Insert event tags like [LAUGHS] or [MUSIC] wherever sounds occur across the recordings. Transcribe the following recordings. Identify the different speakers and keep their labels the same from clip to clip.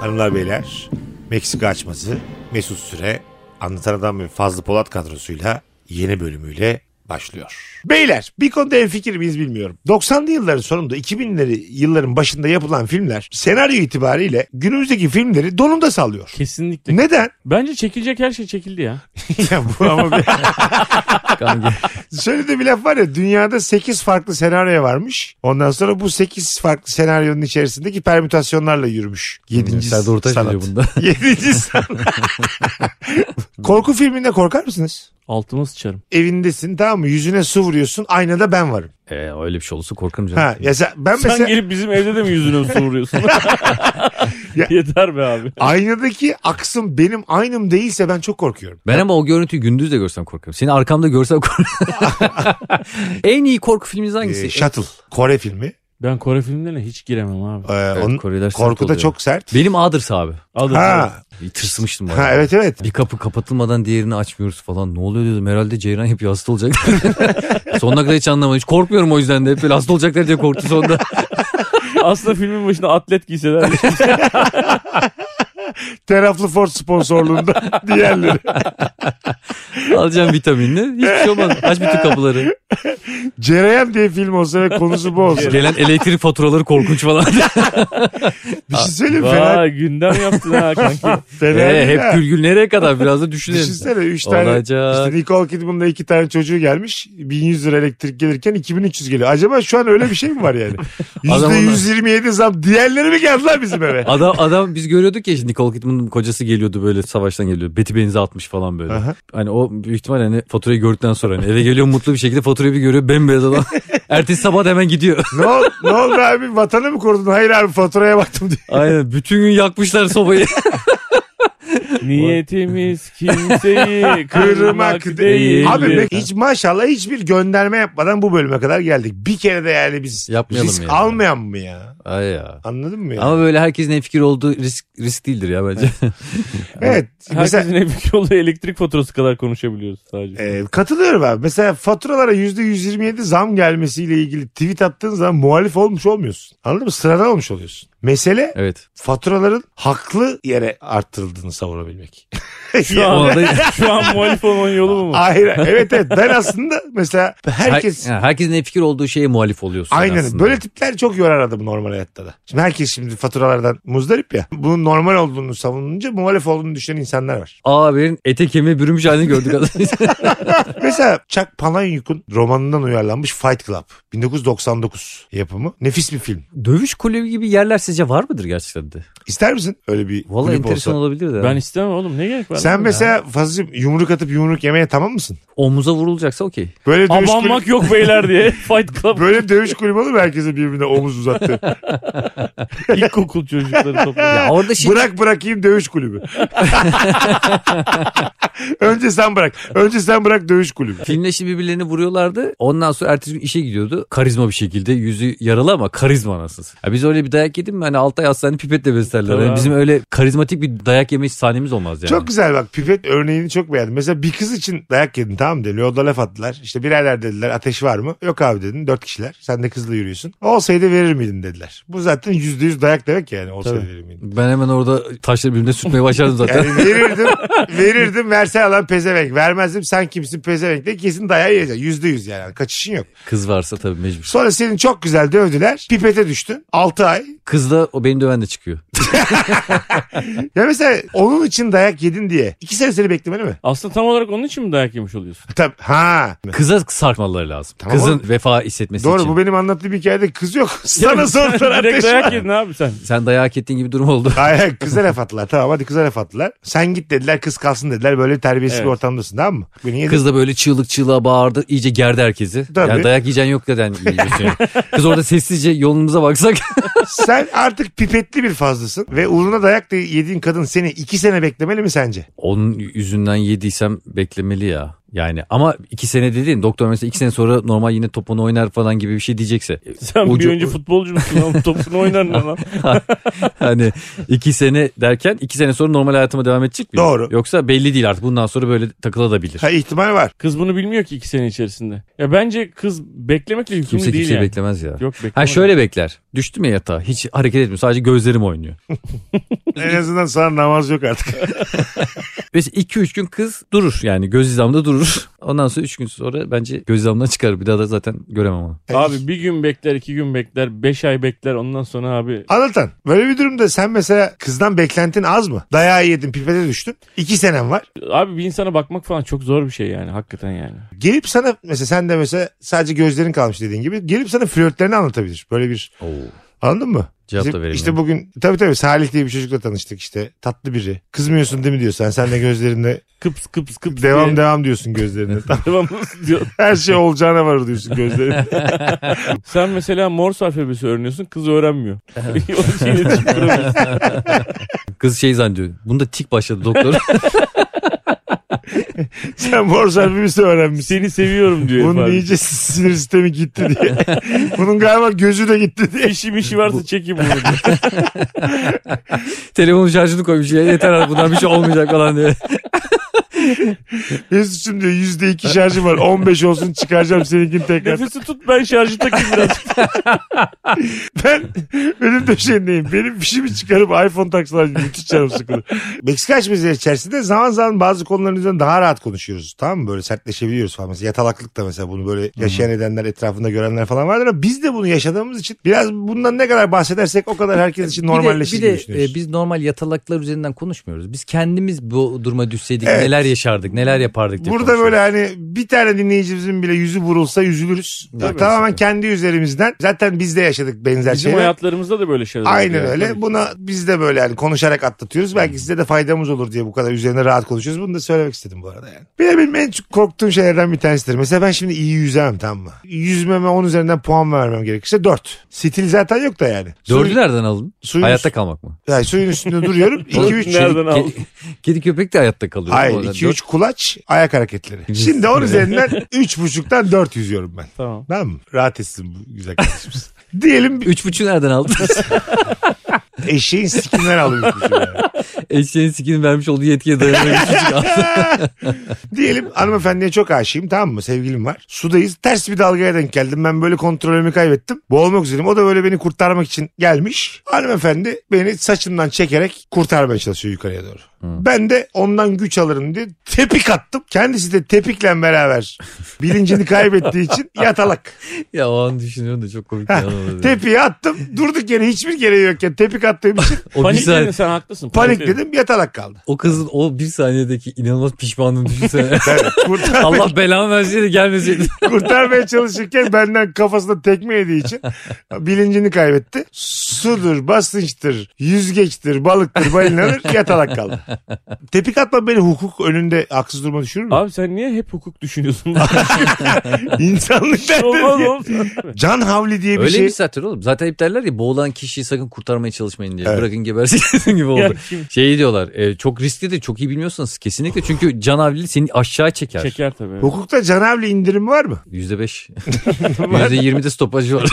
Speaker 1: hanımlar beyler. Meksika açması Mesut Süre Anlatan Adam ve Fazlı Polat kadrosuyla yeni bölümüyle başlıyor. Beyler bir konuda en fikir miyiz bilmiyorum. 90'lı yılların sonunda 2000'leri yılların başında yapılan filmler senaryo itibariyle günümüzdeki filmleri donunda sallıyor.
Speaker 2: Kesinlikle.
Speaker 1: Neden?
Speaker 2: Bence çekilecek her şey çekildi ya.
Speaker 1: [LAUGHS] ya bu ama [LAUGHS] bir-
Speaker 3: [LAUGHS] Kanka.
Speaker 1: Söylediği bir laf var ya dünyada 8 farklı senaryo varmış. Ondan sonra bu 8 farklı senaryonun içerisindeki permütasyonlarla yürümüş. 7.
Speaker 3: Serdar Ortaç
Speaker 1: sanat.
Speaker 3: biliyor bunda.
Speaker 1: Yedinci sanat. Korku filminde korkar mısınız?
Speaker 2: Altıma sıçarım.
Speaker 1: Evindesin tamam mı? Yüzüne su vuruyorsun. Aynada ben varım.
Speaker 3: Ee, öyle bir şey olursa korkarım canım.
Speaker 1: Ha, ya sen- ben
Speaker 2: Sen
Speaker 1: mesela
Speaker 2: gelip bizim evde de mi yüzüne su vuruyorsun?
Speaker 1: [LAUGHS]
Speaker 2: [LAUGHS]
Speaker 1: Ya-
Speaker 2: Yeter be abi.
Speaker 1: aynadaki aksım benim aynım değilse ben çok korkuyorum.
Speaker 3: Ben ama o görüntüyü gündüz de görsem korkarım. Seni arkamda görsem korkarım.
Speaker 1: [LAUGHS]
Speaker 3: en iyi korku filminiz hangisi?
Speaker 1: Ee, Shuttle. Kore filmi.
Speaker 2: Ben Kore filmlerine hiç giremem abi.
Speaker 1: Ee,
Speaker 3: Evet,
Speaker 1: onun
Speaker 3: Kore'ler sert
Speaker 1: korku da
Speaker 3: oluyor.
Speaker 1: çok sert.
Speaker 3: Benim Others abi.
Speaker 2: Adı
Speaker 1: Ha,
Speaker 3: Tırsmıştım.
Speaker 1: ha evet evet.
Speaker 3: Bir kapı kapatılmadan diğerini açmıyoruz falan. Ne oluyor diyordum. Herhalde Ceyran hep hasta olacak. [LAUGHS] sonuna kadar hiç anlamadım. Hiç korkmuyorum o yüzden de. Hep böyle hasta olacaklar diye korktum sonunda.
Speaker 1: [LAUGHS]
Speaker 2: Aslında filmin başında atlet giyseler.
Speaker 1: Teraflı Ford sponsorluğunda diğerleri.
Speaker 3: Alacağım vitaminini. Hiçbir şey olmaz. Aç bütün kapıları.
Speaker 1: [LAUGHS] Cereyan diye film olsa ve konusu bu olsa.
Speaker 3: Gelen elektrik faturaları korkunç falan.
Speaker 1: Bir şey söyleyeyim mi? fena,
Speaker 2: Vay gündem yaptın
Speaker 1: [LAUGHS]
Speaker 2: ha kanki.
Speaker 1: fena
Speaker 3: [LAUGHS] ee,
Speaker 1: değil ha.
Speaker 3: hep gülgül nereye kadar biraz da düşünelim.
Speaker 1: Düşünsene 3 tane
Speaker 3: Olacak.
Speaker 1: hani işte Nicole Kidman'la 2 tane çocuğu gelmiş 1100 lira elektrik gelirken 2300 geliyor. Acaba şu an öyle bir şey mi var yani?
Speaker 3: Adam onlar-
Speaker 1: %127 zam diğerleri mi geldiler bizim
Speaker 3: [LAUGHS]
Speaker 1: eve?
Speaker 3: Adam adam biz görüyorduk ya işte Nicole Kidman'ın kocası geliyordu böyle savaştan geliyordu. Beti benzi atmış falan böyle.
Speaker 1: Aha.
Speaker 3: Hani o büyük ihtimal hani faturayı gördükten sonra hani eve geliyor mutlu bir şekilde faturayı bir görüyor
Speaker 1: [LAUGHS]
Speaker 3: bembeyaz adam. Ertesi sabah da hemen gidiyor.
Speaker 1: ne, ol, ne oldu abi vatanı mı korudun? Hayır abi faturaya baktım diye.
Speaker 3: Aynen bütün gün yakmışlar sobayı.
Speaker 2: Niyetimiz
Speaker 1: [LAUGHS]
Speaker 2: kimseyi
Speaker 1: Kırmak
Speaker 2: kırmak değil.
Speaker 1: Abi be- hiç maşallah hiçbir gönderme yapmadan bu bölüme kadar geldik. Bir kere de yani biz
Speaker 3: Yapmayalım
Speaker 1: risk
Speaker 3: yani.
Speaker 1: almayan mı ya?
Speaker 3: [LAUGHS] Ay ya.
Speaker 1: Anladın mı ya?
Speaker 3: Ama böyle herkesin en fikir olduğu risk risk değildir ya
Speaker 1: [LAUGHS]
Speaker 3: bence.
Speaker 1: evet. Mesela
Speaker 2: Herkesin en büyük yolu elektrik faturası kadar konuşabiliyoruz sadece.
Speaker 1: Ee, katılıyorum abi. Mesela faturalara %127 zam gelmesiyle ilgili tweet attığın zaman muhalif olmuş olmuyorsun. Anladın mı? Sıradan olmuş oluyorsun. Mesele
Speaker 3: evet.
Speaker 1: faturaların haklı yere arttırıldığını savunabilmek. [LAUGHS]
Speaker 2: Şu
Speaker 3: O
Speaker 2: an,
Speaker 3: anda
Speaker 2: [LAUGHS] şu an muhalif olmanın yolu mu?
Speaker 1: Hayır. Evet evet. Ben aslında mesela herkes...
Speaker 3: Her- yani herkesin en fikir olduğu şeye muhalif oluyorsun
Speaker 1: Aynen.
Speaker 3: aslında.
Speaker 1: Böyle tipler çok yorar adamı normal hayatta da. Şimdi herkes şimdi faturalardan muzdarip ya. Bunun normal olduğunu savununca muhalif olduğunu düşünen insanlar
Speaker 3: [LAUGHS]
Speaker 1: var.
Speaker 3: Aa haberin ete kemiğe bürünmüş halini gördük aslında. [LAUGHS]
Speaker 1: Mesela Chuck Palahniuk'un romanından uyarlanmış Fight Club. 1999 yapımı. Nefis bir film.
Speaker 3: Dövüş kulübü gibi yerler sizce var mıdır gerçekten de?
Speaker 1: İster misin öyle bir
Speaker 3: Vallahi
Speaker 1: kulüp
Speaker 3: enteresan
Speaker 1: olsa?
Speaker 3: olabilir de.
Speaker 2: Ben istemem oğlum ne gerek var?
Speaker 1: Sen mesela Fazlıcığım yumruk atıp yumruk yemeye tamam mısın?
Speaker 3: Omuza vurulacaksa okey.
Speaker 1: Böyle dövüş kulübü,
Speaker 2: Abanmak yok
Speaker 1: [LAUGHS]
Speaker 2: beyler diye Fight Club
Speaker 1: böyle dövüş kulübü olur mu herkese birbirine omuz uzattı.
Speaker 2: ilkokul çocukları topluyor.
Speaker 3: Ya orada şey
Speaker 1: bırak bırakayım dövüş kulübü. [LAUGHS] Önce sen bırak. Önce sen bırak dövüş kulübü.
Speaker 3: Filmle şimdi birbirlerini vuruyorlardı. Ondan sonra ertesi gün işe gidiyordu. Karizma bir şekilde. Yüzü yaralı ama karizma anasız. Ya biz öyle bir dayak yedim mi hani 6 ay hastane pipetle beslerler.
Speaker 2: Tabii
Speaker 3: Yani
Speaker 2: abi.
Speaker 3: bizim öyle karizmatik bir dayak yeme sahnemiz olmaz yani.
Speaker 1: Çok güzel bak pipet örneğini çok beğendim. Mesela bir kız için dayak yedin tamam mı deniyor. Yolda laf attılar. İşte birader dediler ateş var mı? Yok abi dedin. Dört kişiler. Sen de kızla yürüyorsun. Olsaydı verir miydin dediler. Bu zaten yüzde yüz dayak demek yani. Olsaydı
Speaker 2: Tabii.
Speaker 1: verir miydin?
Speaker 3: Ben hemen orada taşları birbirine sürtmeye başladım zaten.
Speaker 1: [LAUGHS] Yani verirdim, verirdim verse alan pezevenk. Vermezdim sen kimsin pezevenk de kesin dayağı yiyeceksin. Yüzde yüz yani. Kaçışın yok.
Speaker 3: Kız varsa tabii mecbur.
Speaker 1: Sonra senin çok güzel dövdüler. Pipete düştün. 6 ay.
Speaker 3: Kız da o benim döven de çıkıyor.
Speaker 1: Ya mesela onun için dayak yedin diye. 2 sene seni beklemeli mi?
Speaker 2: Aslında tam olarak onun için mi dayak yemiş oluyorsun?
Speaker 1: Tabii. Ha.
Speaker 3: Kıza sarkmaları lazım.
Speaker 1: Tamam
Speaker 3: Kızın
Speaker 1: oğlum.
Speaker 3: vefa hissetmesi
Speaker 1: Doğru
Speaker 3: için.
Speaker 1: bu benim anlattığım hikayede kız yok. Sana sordular
Speaker 2: Direkt
Speaker 1: ateş
Speaker 2: dayak
Speaker 1: var.
Speaker 2: yedin abi sen.
Speaker 3: Sen dayak ettiğin gibi durum oldu.
Speaker 1: Hayır kıza laf attılar. Tamam hadi kıza laf attılar. Sen git dediler kız kalsın dediler. Böyle terbiyesiz bir
Speaker 2: Evet.
Speaker 1: ortamdasın tamam mı? Beni yedin.
Speaker 3: Kız da böyle çığlık çığlığa bağırdı. iyice gerdi herkesi.
Speaker 1: Tabii.
Speaker 3: Yani dayak yiyeceğin yok
Speaker 2: [LAUGHS]
Speaker 3: neden yiyorsun. Kız orada sessizce yolumuza baksak.
Speaker 1: Sen artık pipetli bir fazlasın. Ve uğruna dayak da yediğin kadın seni 2 sene beklemeli mi sence?
Speaker 3: Onun yüzünden yediysem beklemeli ya. Yani ama iki sene dediğin doktor mesela iki sene sonra normal yine topunu oynar falan gibi bir şey diyecekse.
Speaker 2: Sen bir
Speaker 3: Ucu-
Speaker 2: önce futbolcu musun lan? [LAUGHS] Topunu oynar mı lan?
Speaker 3: hani iki sene derken iki sene sonra normal hayatıma devam edecek miyim?
Speaker 1: Doğru.
Speaker 3: Yoksa belli değil artık bundan sonra böyle takılabilir.
Speaker 1: Ha ihtimal var.
Speaker 2: Kız bunu bilmiyor ki iki sene içerisinde. Ya bence kız beklemekle yükümlü
Speaker 3: Kimse
Speaker 2: değil
Speaker 3: kimseyi
Speaker 2: yani.
Speaker 3: beklemez ya.
Speaker 2: Yok beklemez.
Speaker 3: Ha şöyle bekler. Düştüm ya yatağa. Hiç hareket etmiyor. Sadece gözlerim oynuyor.
Speaker 1: en azından sana namaz yok artık. [LAUGHS]
Speaker 3: Mesela 2-3 gün kız durur yani göz hizamda durur. [LAUGHS] Ondan sonra 3 gün sonra bence göz hizamdan çıkar. Bir daha da zaten göremem onu.
Speaker 2: Abi bir gün bekler, iki gün bekler, beş ay bekler ondan sonra abi
Speaker 1: Anlatan böyle bir durumda sen mesela kızdan beklentin az mı? Dayağı yedin pipete düştün. İki senem var.
Speaker 2: abi bir insana bakmak falan çok zor bir şey yani hakikaten yani.
Speaker 1: Gelip sana mesela sen de mesela sadece gözlerin kalmış dediğin gibi gelip sana flörtlerini anlatabilir. Böyle bir anladın mı?
Speaker 3: Cevap da
Speaker 1: Bizim-
Speaker 3: veremiyor.
Speaker 1: İşte bugün tabii tabii Salih diye bir çocukla tanıştık işte tatlı biri. Kızmıyorsun değil mi diyor sen sen de gözlerinde
Speaker 2: Kıps kıps kıps.
Speaker 1: devam
Speaker 2: diye-
Speaker 1: devam diyorsun gözlerinde. Tam
Speaker 2: Devam [LAUGHS] nasıl diyor.
Speaker 1: [LAUGHS] Her şey olacağına varır diyorsun gözlerinde. [LAUGHS]
Speaker 2: Sen mesela Morse alfabesi öğreniyorsun kız öğrenmiyor. [LAUGHS] O şeyle çıkıyor.
Speaker 3: Kız şey zannediyor. Bunda tik başladı doktor. [LAUGHS]
Speaker 1: sen borç harfimizi öğrenmişsin.
Speaker 2: Seni seviyorum diyor.
Speaker 1: Bunun
Speaker 2: Bunun
Speaker 1: iyice sinir sistemi gitti diye.
Speaker 3: [LAUGHS]
Speaker 1: Bunun galiba gözü de gitti diye.
Speaker 2: İşim işi varsa çekin bunu [LAUGHS] diyor.
Speaker 3: Telefonun şarjını koymuş. Ya, yeter artık bundan bir şey olmayacak falan diye.
Speaker 1: Mesut'cum diyor yüzde iki şarjım var. 15 olsun çıkaracağım seninkini tekrar.
Speaker 2: Nefesi tut ben şarjı takayım biraz.
Speaker 1: Ben benim döşeğindeyim. Benim fişimi çıkarıp iPhone taksalar müthiş canım sıkılır. Meksika açmızı içerisinde zaman zaman bazı konuların üzerinde daha rahat konuşuyoruz. Tamam mı? Böyle sertleşebiliyoruz falan. Mesela yatalaklık da mesela bunu böyle yaşayan edenler etrafında görenler falan vardır ama biz de bunu yaşadığımız için biraz bundan ne kadar bahsedersek o kadar herkes için normalleşir
Speaker 3: E, bir de,
Speaker 1: gibi
Speaker 3: bir de
Speaker 1: düşünüyoruz.
Speaker 3: e, biz normal yatalaklar üzerinden konuşmuyoruz. Biz kendimiz bu duruma düşseydik
Speaker 1: Evet.
Speaker 3: neler yaşardık, neler yapardık diye
Speaker 1: Burada
Speaker 3: konuşuyoruz.
Speaker 1: böyle hani bir tane dinleyicimizin bile yüzü vurulsa üzülürüz.
Speaker 3: Tabii.
Speaker 1: Tamamen kendi üzerimizden. Zaten biz de yaşadık benzer
Speaker 2: Bizim
Speaker 1: şeyler.
Speaker 2: hayatlarımızda da böyle şeyler
Speaker 1: Aynen
Speaker 2: oluyor.
Speaker 1: öyle. Buna biz de böyle yani konuşarak atlatıyoruz.
Speaker 3: Hmm.
Speaker 1: Belki size de faydamız olur diye bu kadar üzerine rahat konuşuyoruz. Bunu da söylemek istedim bu arada yani. Bir de benim en çok korktuğum şeylerden bir tanesidir. Mesela ben şimdi iyi yüzemem tamam mı? Yüzmeme 10 üzerinden puan vermem gerekirse 4. Stil zaten yok da yani.
Speaker 3: Dördü
Speaker 1: Suyun,
Speaker 3: nereden aldın?
Speaker 1: suyun,
Speaker 3: Hayatta kalmak mı?
Speaker 1: yani suyun üstünde
Speaker 3: [LAUGHS]
Speaker 1: duruyorum. 2-3
Speaker 2: Nereden aldın?
Speaker 3: Ke- Kedi köpek de hayatta kalıyor.
Speaker 1: Hayır
Speaker 3: Oradan
Speaker 1: 2-3 kulaç ayak hareketleri. Şimdi [LAUGHS] 10 üzerinden 3.5'tan 4 yüzüyorum ben.
Speaker 2: Tamam.
Speaker 1: Tamam mı? Rahat etsin bu güzel kardeşimiz. [LAUGHS] Diyelim bir
Speaker 3: Üç buçuğu
Speaker 1: [LAUGHS]
Speaker 3: nereden aldın?
Speaker 1: eşeğin sikinden alıyor. çocuğu yani.
Speaker 3: Eşeğin sikini vermiş olduğu
Speaker 1: [LAUGHS]
Speaker 3: yetkiye dayanarak üç buçuk aldın.
Speaker 1: Diyelim hanımefendiye çok aşığım tamam mı sevgilim var. Sudayız ters bir dalgaya denk geldim ben böyle kontrolümü kaybettim. Boğulmak üzereyim o da böyle beni kurtarmak için gelmiş. Hanımefendi beni saçımdan çekerek kurtarmaya çalışıyor yukarıya doğru. Ben de ondan güç alırım diye tepik attım. Kendisi de tepikle [LAUGHS] beraber bilincini kaybettiği için yatalak.
Speaker 3: Ya o an düşünüyorum da çok komik bir an oldu.
Speaker 1: Tepiği attım durduk yere hiçbir gereği yokken tepik attığım için
Speaker 3: O bir
Speaker 2: Panikledin
Speaker 3: saniye,
Speaker 2: sen haklısın. panikledin.
Speaker 1: panikledim yatalak kaldı.
Speaker 3: o kızın o bir saniyedeki inanılmaz
Speaker 1: [LAUGHS]
Speaker 3: pişmanlığını düşünsene.
Speaker 1: Evet,
Speaker 3: [LAUGHS]
Speaker 1: kurtar-
Speaker 3: Allah belamı verseydi gelmeseydi.
Speaker 1: kurtarmaya çalışırken benden kafasına tekme yediği için bilincini kaybetti. Sudur, basınçtır, yüzgeçtir, balıktır, balinadır yatalak kaldı. Tepik atma beni hukuk önünde haksız duruma düşürür mü?
Speaker 2: Abi sen niye hep hukuk düşünüyorsun?
Speaker 1: İnsanlık
Speaker 2: şey Olmaz
Speaker 1: derdi.
Speaker 2: olmaz.
Speaker 1: Can havli diye bir
Speaker 3: Öyle
Speaker 1: şey.
Speaker 3: bir satır oğlum. Zaten hep derler ya boğulan kişiyi sakın kurtarmaya çalışmayın diye.
Speaker 1: Evet.
Speaker 3: Bırakın gebersin [LAUGHS] gibi oldu.
Speaker 2: Ya kim-
Speaker 3: Şey diyorlar e, çok riskli de çok iyi bilmiyorsanız kesinlikle. Çünkü canavlili seni aşağı çeker.
Speaker 2: Çeker tabii.
Speaker 1: Hukukta can havli indirimi var mı? [LAUGHS]
Speaker 3: Yüzde beş. Yüzde yirmi de stopajı var.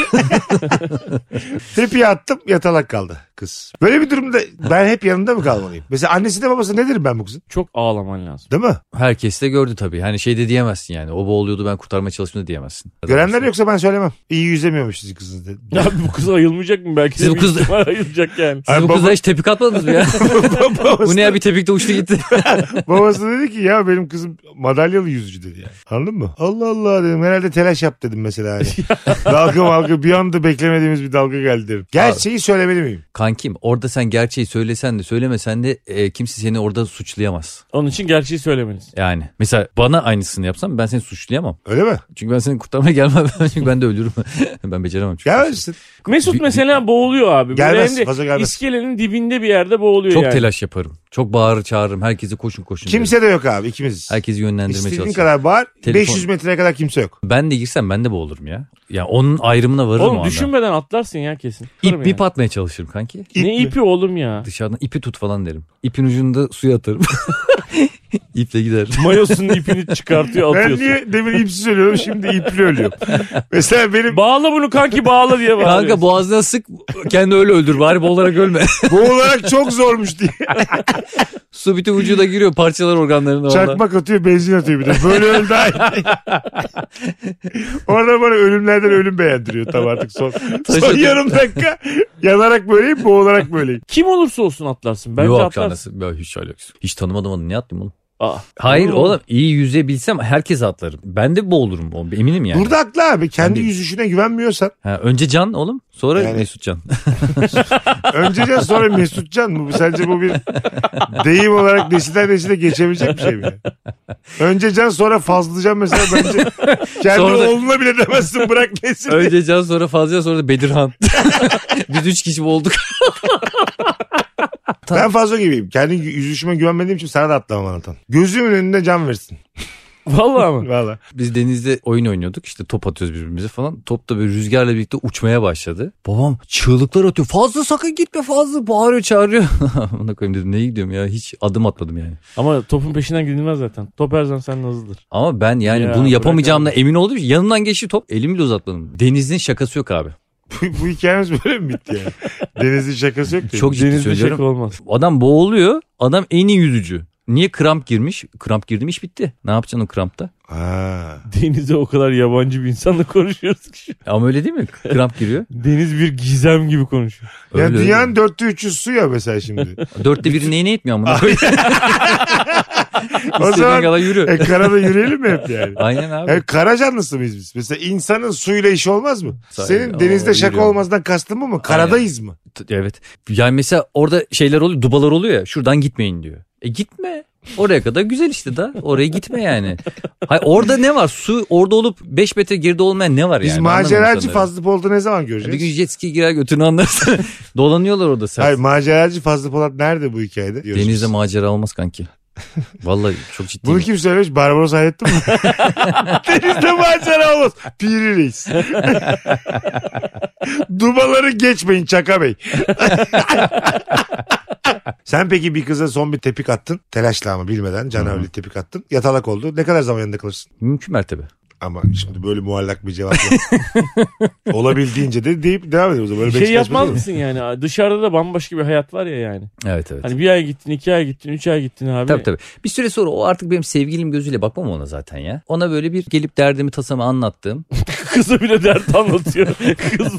Speaker 1: Tepiği attım yatalak kaldı kız. Böyle bir durumda ben hep yanında mı kalmalıyım? Mesela annesi de babası nedir ben bu kızın?
Speaker 2: Çok ağlaman lazım.
Speaker 1: Değil mi?
Speaker 3: Herkes de gördü tabii. Hani şey de diyemezsin yani. O boğuluyordu ben kurtarmaya çalıştım da diyemezsin.
Speaker 1: Görenler yoksa ben söylemem. İyi yüzemiyormuş sizin kızınız dedi.
Speaker 2: Ya Abi [LAUGHS] bu kız ayılmayacak mı? Belki
Speaker 3: Siz
Speaker 2: de
Speaker 3: bu
Speaker 2: bir
Speaker 3: kız-
Speaker 2: ihtimal ayılacak yani.
Speaker 3: Siz
Speaker 1: Ay
Speaker 3: bu
Speaker 1: baba-
Speaker 3: kızla hiç tepik atmadınız
Speaker 1: [LAUGHS]
Speaker 3: mı ya?
Speaker 1: Babası
Speaker 3: Bu ne
Speaker 1: da-
Speaker 3: ya bir tepikte uçtu gitti.
Speaker 1: Babası dedi ki ya benim kızım madalyalı yüzücü dedi yani. Anladın mı? Allah Allah dedim herhalde telaş yap dedim mesela.
Speaker 2: [LAUGHS]
Speaker 1: Hani. dalga malga bir anda beklemediğimiz bir dalga geldi dedim. Gerçeği söylemeli miyim?
Speaker 3: Kankim orada sen gerçeği söylesen de söylemesen de e, kimse seni orada suçlayamaz.
Speaker 2: Onun için gerçeği söylemeniz.
Speaker 3: Yani mesela bana aynısını yapsam ben seni suçlayamam.
Speaker 1: Öyle mi?
Speaker 3: Çünkü ben seni kurtarmaya gelmem. [LAUGHS] çünkü ben de ölürüm. ben beceremem çünkü.
Speaker 1: Gelmezsin.
Speaker 2: Mesut mesela boğuluyor abi. Böyle
Speaker 1: Gelmez,
Speaker 2: hem de
Speaker 1: fazla gelmez.
Speaker 2: İskelenin dibinde bir yerde boğuluyor
Speaker 3: Çok
Speaker 2: yani.
Speaker 3: telaş yaparım. Çok bağırır çağırırım. Herkese koşun koşun. derim.
Speaker 1: Kimse de yok abi ikimiz.
Speaker 3: Herkesi yönlendirmeye
Speaker 1: İstediğin
Speaker 3: çalışırım.
Speaker 1: kadar bağır.
Speaker 3: Telefon-
Speaker 1: 500 metreye kadar kimse yok.
Speaker 3: Ben de girsem ben de boğulurum ya. Ya onun ayrımına varırım o
Speaker 2: Oğlum
Speaker 3: anda.
Speaker 2: düşünmeden atlarsın ya kesin.
Speaker 3: İp
Speaker 2: Tutarım
Speaker 3: ip atmaya çalışırım kanki.
Speaker 2: yani. Ne
Speaker 1: İp mi?
Speaker 3: [LAUGHS]
Speaker 2: ipi oğlum ya?
Speaker 3: Dışarıdan ipi tut falan derim. ipin ucunu da suya atarım. [LAUGHS] İple gider.
Speaker 2: Mayosunun ipini çıkartıyor
Speaker 1: Ben
Speaker 2: atıyorsun.
Speaker 1: niye demin ipsiz ölüyorum şimdi ipli
Speaker 2: [LAUGHS]
Speaker 1: ölüyorum. Mesela benim
Speaker 2: Bağla bunu kanki bağla diye bağırıyor.
Speaker 3: Kanka boğazına sık kendi öyle öldür bari boğularak ölme.
Speaker 1: boğularak çok zormuş diye.
Speaker 3: Su bütün vücuda giriyor parçalar organlarına. Çakma.
Speaker 1: Çakmak atıyor benzin atıyor bir de. Böyle öl daha iyi. Orada bana ölümlerden ölüm beğendiriyor tam artık son. Son
Speaker 3: Taşıdı.
Speaker 1: yarım dakika yanarak böyleyim boğularak böyleyim.
Speaker 2: Kim olursa olsun atlarsın. Bence
Speaker 3: Yok
Speaker 2: atlarsın.
Speaker 3: anasını- Ya hiç alakası. yok. Hiç tanımadım onu niye atlayayım oğlum?
Speaker 2: Aa,
Speaker 3: Hayır
Speaker 2: olur mu?
Speaker 3: oğlum iyi yüzebilsem herkes atlarım. Ben de boğulurum oğlum, eminim yani.
Speaker 1: Burada haklı abi kendi
Speaker 3: Ben de-
Speaker 1: yüzüşüne güvenmiyorsan.
Speaker 3: Ha, önce Can oğlum sonra
Speaker 1: Yani-
Speaker 3: Mesut Can.
Speaker 1: Önce Can, sonra Mesutcan mı? Sence bu bir deyim olarak nesilden nesile geçebilecek bir şey mi? yani? Önce Can sonra Fazlıcan mesela bence kendi
Speaker 3: Sonra da-
Speaker 1: oğluna bile demezsin bırak nesil.
Speaker 3: [LAUGHS] önce Can sonra Fazla sonra da Bedirhan. [LAUGHS] Biz üç kişi olduk.
Speaker 1: Ben fazla gibiyim. Kendi yüzüşüme güvenmediğim için sana da atlamam anlatan. Gözümün önünde can versin.
Speaker 2: Vallahi mı?
Speaker 1: Valla.
Speaker 3: Biz denizde oyun oynuyorduk işte top atıyoruz birbirimize falan. Top da böyle rüzgarla birlikte uçmaya başladı. Babam çığlıklar atıyor. Fazla sakın gitme fazla bağırıyor çağırıyor. [LAUGHS] Ona koyayım dedim neye gidiyorum ya hiç adım atmadım yani.
Speaker 2: Ama topun peşinden gidilmez zaten. Top her zaman senden hızlıdır.
Speaker 3: Ama ben yani
Speaker 2: Ya,
Speaker 3: bunu yapamayacağımla
Speaker 2: bırak
Speaker 3: emin olduğum için yanından geçti top elimi bile uzatmadım. Denizin şakası yok abi.
Speaker 1: Bu, bu hikayemiz böyle mi bitti yani?
Speaker 3: [LAUGHS]
Speaker 1: Deniz'in şakası yok ki.
Speaker 3: Çok ciddi
Speaker 2: Denizde
Speaker 3: söylüyorum.
Speaker 2: şaka olmaz. [LAUGHS]
Speaker 3: Adam boğuluyor. Adam en iyi yüzücü. Niye kramp girmiş? Kramp girdi mi iş bitti. Ne yapacaksın o krampta?
Speaker 1: Ha.
Speaker 2: Denize o kadar yabancı bir insanla konuşuyoruz ki. şu an.
Speaker 3: Ama öyle değil mi? Kramp giriyor.
Speaker 2: Deniz bir gizem gibi konuşuyor.
Speaker 1: [LAUGHS] Ya
Speaker 3: Öyle,
Speaker 1: dünyanın dörtte üçü su ya mesela şimdi.
Speaker 3: öyle. Dörtte biri neyine yetmiyor
Speaker 1: [LAUGHS]
Speaker 3: amına koyayım. [LAUGHS]
Speaker 1: o
Speaker 3: İstediğin
Speaker 1: zaman
Speaker 3: kadar yürü.
Speaker 1: e, karada yürüyelim mi hep yani?
Speaker 3: Aynen abi.
Speaker 1: E, kara canlısı mıyız biz? Mesela insanın suyla işi olmaz mı?
Speaker 3: Sahi,
Speaker 1: Senin
Speaker 3: o,
Speaker 1: denizde şaka
Speaker 3: yürüyorum.
Speaker 1: olmazdan kastın mı mı? Karadayız mı?
Speaker 3: T- Evet. Yani mesela orada şeyler oluyor, dubalar oluyor ya. Şuradan gitmeyin diyor. E gitme. Oraya kadar güzel işte da. Oraya gitme yani. Hayır, orada ne var? Su orada olup 5 metre geride olmayan ne var
Speaker 1: Biz
Speaker 3: yani? Anlamadım
Speaker 1: maceracı
Speaker 3: sanırım.
Speaker 1: Fazlı Polat'ı ne zaman
Speaker 3: Bir gün
Speaker 1: göreceğiz?
Speaker 3: jet ski girer götünü anlarsın. [LAUGHS] Dolanıyorlar orada sen.
Speaker 1: Hayır maceracı Fazlı Polat nerede bu hikayede? Diyoruz
Speaker 3: Denizde
Speaker 1: biz.
Speaker 3: macera olmaz kanki. Vallahi çok ciddi.
Speaker 1: Bunu kim söylemiş? Barbaros Hayrettin
Speaker 2: [LAUGHS]
Speaker 1: mi? Denizde macera olmaz. Piri
Speaker 2: [LAUGHS]
Speaker 1: reis. Dubaları geçmeyin Çaka
Speaker 2: [LAUGHS]
Speaker 1: Bey. Sen peki bir kıza son bir tepik attın. Telaşla ama bilmeden canavli tepik attın. Yatalak oldu. Ne kadar zaman yanında kalırsın?
Speaker 3: Mümkün mertebe.
Speaker 1: Ama şimdi böyle muallak bir cevap
Speaker 2: [LAUGHS]
Speaker 1: yok. Olabildiğince de deyip devam ediyoruz. Böyle
Speaker 2: Bir şey
Speaker 1: Beşiktaş
Speaker 2: yapmaz
Speaker 1: maçı
Speaker 2: mısın yani? Dışarıda da bambaşka bir hayat var ya yani.
Speaker 3: Evet evet.
Speaker 2: Hani bir ay gittin, iki ay gittin, üç ay gittin abi.
Speaker 3: Tabii tabii. Bir süre sonra o artık benim sevgilim gözüyle bakmam ona zaten ya. Ona böyle bir gelip derdimi tasamı anlattığım. [LAUGHS]
Speaker 2: Kıza bile dert anlatıyor. [LAUGHS] kız,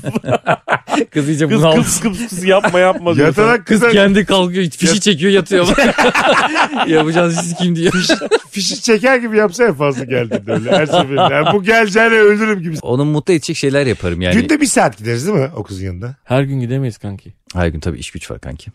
Speaker 3: Kız iyice
Speaker 2: kız, kız, kız, kız yapma yapma
Speaker 1: olur.
Speaker 2: diyor. sana.
Speaker 1: Yatalak kıza
Speaker 3: Kendi kalkıyor fişi
Speaker 1: [LAUGHS]
Speaker 3: çekiyor yatıyor. [LAUGHS] Yapacağınız siz kim diyor.
Speaker 1: fişi çeker gibi yapsa ya fazla geldi de öyle her seferinde. Yani bu geleceğine ölürüm gibi.
Speaker 3: Onu mutlu edecek şeyler yaparım yani.
Speaker 1: Günde bir saat gideriz değil mi o kızın yanında?
Speaker 2: Her gün gidemeyiz kanki.
Speaker 3: Her gün tabii iş güç var kanki.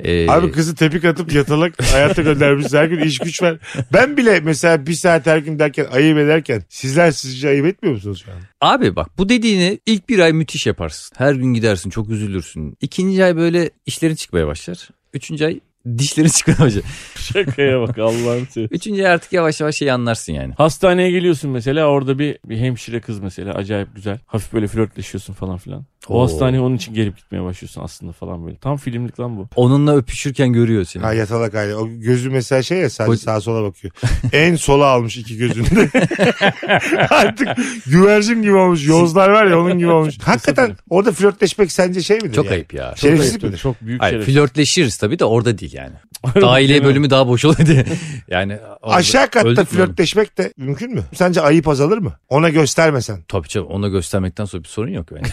Speaker 3: Ee,
Speaker 1: Abi kızı tepik atıp
Speaker 3: [LAUGHS]
Speaker 1: yatalak hayata göndermiş her gün iş güç ver. Ben bile mesela bir saat her gün derken ayıp ederken sizler sizce ayıp etmiyor musunuz şu an?
Speaker 3: Abi bak bu dediğini ilk bir ay müthiş yaparsın. Her gün gidersin çok üzülürsün. İkinci ay böyle işlerin çıkmaya başlar. Üçüncü ay dişlerin [LAUGHS] çıkmaya başlar.
Speaker 2: Şakaya bak Allah'ım seni.
Speaker 3: Üçüncü ay artık yavaş yavaş şeyi anlarsın yani.
Speaker 2: Hastaneye geliyorsun mesela orada bir, bir hemşire kız mesela acayip güzel. Hafif böyle flörtleşiyorsun falan filan. O
Speaker 3: Oo.
Speaker 2: hastaneye onun için gelip gitmeye başlıyorsun aslında falan böyle. Tam filmlik lan bu.
Speaker 3: Onunla öpüşürken görüyor seni.
Speaker 1: Ha yatalak aile. O gözü mesela şey ya sadece
Speaker 3: Koy-
Speaker 1: sağa sola bakıyor. en sola almış iki
Speaker 3: [LAUGHS]
Speaker 1: gözünde. Artık güvercin gibi olmuş. Yozlar var ya onun gibi olmuş. Hakikaten orada flörtleşmek sence şey midir?
Speaker 3: Çok
Speaker 1: yani?
Speaker 3: ayıp ya.
Speaker 1: Şey- Şerefsizlik
Speaker 2: Çok ayıp,
Speaker 1: midir?
Speaker 2: Çok büyük
Speaker 3: Hayır,
Speaker 2: şeref.
Speaker 3: flörtleşiriz tabii de orada
Speaker 1: [LAUGHS]
Speaker 3: değil yani. Daire bölümü daha boş oluyor diye. [LAUGHS] Yani orada
Speaker 1: Aşağı katta
Speaker 3: öldük mü oğlum?
Speaker 1: flörtleşmek de mümkün mü? Sence ayıp azalır mı? Ona göstermesen.
Speaker 3: Tabii canım ona göstermekten sonra bir sorun yok
Speaker 1: [LAUGHS]
Speaker 3: bence.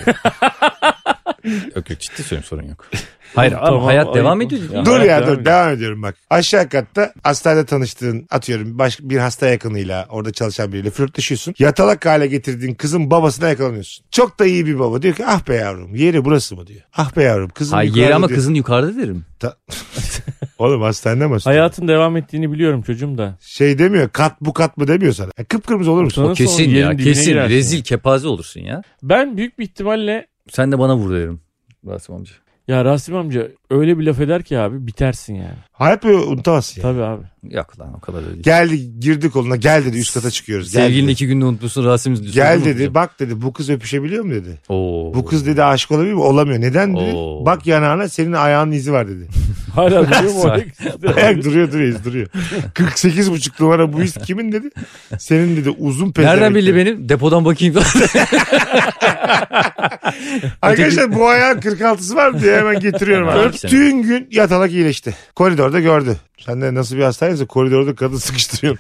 Speaker 3: yok yok ciddi söylüyorum sorun yok. Hayır ama
Speaker 2: Tamam,
Speaker 3: hayat
Speaker 2: ayıp
Speaker 3: devam
Speaker 2: olsun.
Speaker 3: ediyor.
Speaker 2: Ya.
Speaker 1: Dur ya
Speaker 2: hayat devam
Speaker 1: dur
Speaker 2: ediyor.
Speaker 1: devam ediyorum bak. Aşağı katta hastanede tanıştığın atıyorum başka bir hasta yakınıyla orada çalışan biriyle flörtleşiyorsun. Yatalak hale getirdiğin kızın babasına yakalanıyorsun. Çok da iyi bir baba diyor ki ah be yavrum yeri burası mı diyor. Ah be yavrum kızım
Speaker 3: Hayır yeri
Speaker 1: yukarıda
Speaker 3: ama
Speaker 1: diyor.
Speaker 3: kızın yukarıda derim.
Speaker 1: Oğlum hastanede mi hastane?
Speaker 2: Hayatın devam ettiğini biliyorum çocuğum da.
Speaker 1: Şey demiyor kat bu kat mı demiyor sana. E, kıpkırmızı olur musun?
Speaker 2: Sonra
Speaker 3: O kesin
Speaker 2: sonra
Speaker 3: ya
Speaker 2: yerin dibine
Speaker 3: kesin
Speaker 2: girersin.
Speaker 3: rezil kepaze olursun ya.
Speaker 2: Ben büyük bir ihtimalle
Speaker 3: Sen de bana vur derim. Rasim amca.
Speaker 2: ya Rasim amca öyle bir laf eder ki abi bitersin yani.
Speaker 1: Hayat boyu unutamazsın yani.
Speaker 2: Tabii abi.
Speaker 3: Yok lan o kadar da değil.
Speaker 1: Geldi girdi koluna gel dedi üst kata çıkıyoruz. Gel
Speaker 3: Sevgilini
Speaker 1: dedi.
Speaker 3: iki günde unutmuşsun Rasim diyorsun.
Speaker 1: Gel
Speaker 3: Olur mu
Speaker 1: dedi
Speaker 3: hocam?
Speaker 1: bak dedi bu kız öpüşebiliyor mu dedi.
Speaker 3: Oo.
Speaker 1: Bu kız dedi aşık olabilir mi? Olamıyor. Neden dedi.
Speaker 3: Oo.
Speaker 1: Bak yanağına senin ayağının izi var dedi.
Speaker 2: Hala duruyor mu? Ayak üstünde.
Speaker 1: Ayak duruyor duruyor iz duruyor. 48 buçuk numara bu iz kimin dedi. Senin dedi uzun pezevenk.
Speaker 3: Nereden bildi
Speaker 1: dedi.
Speaker 3: benim? Depodan bakayım.
Speaker 1: Arkadaşlar bu ayağın 46'sı var mı diye hemen getiriyorum.
Speaker 3: Hemen
Speaker 1: abi.
Speaker 3: abi.
Speaker 1: Tüm gün yatalak iyileşti. Koridorda gördü. Sen de nasıl bir hastaneyse koridorda kadın sıkıştırıyor.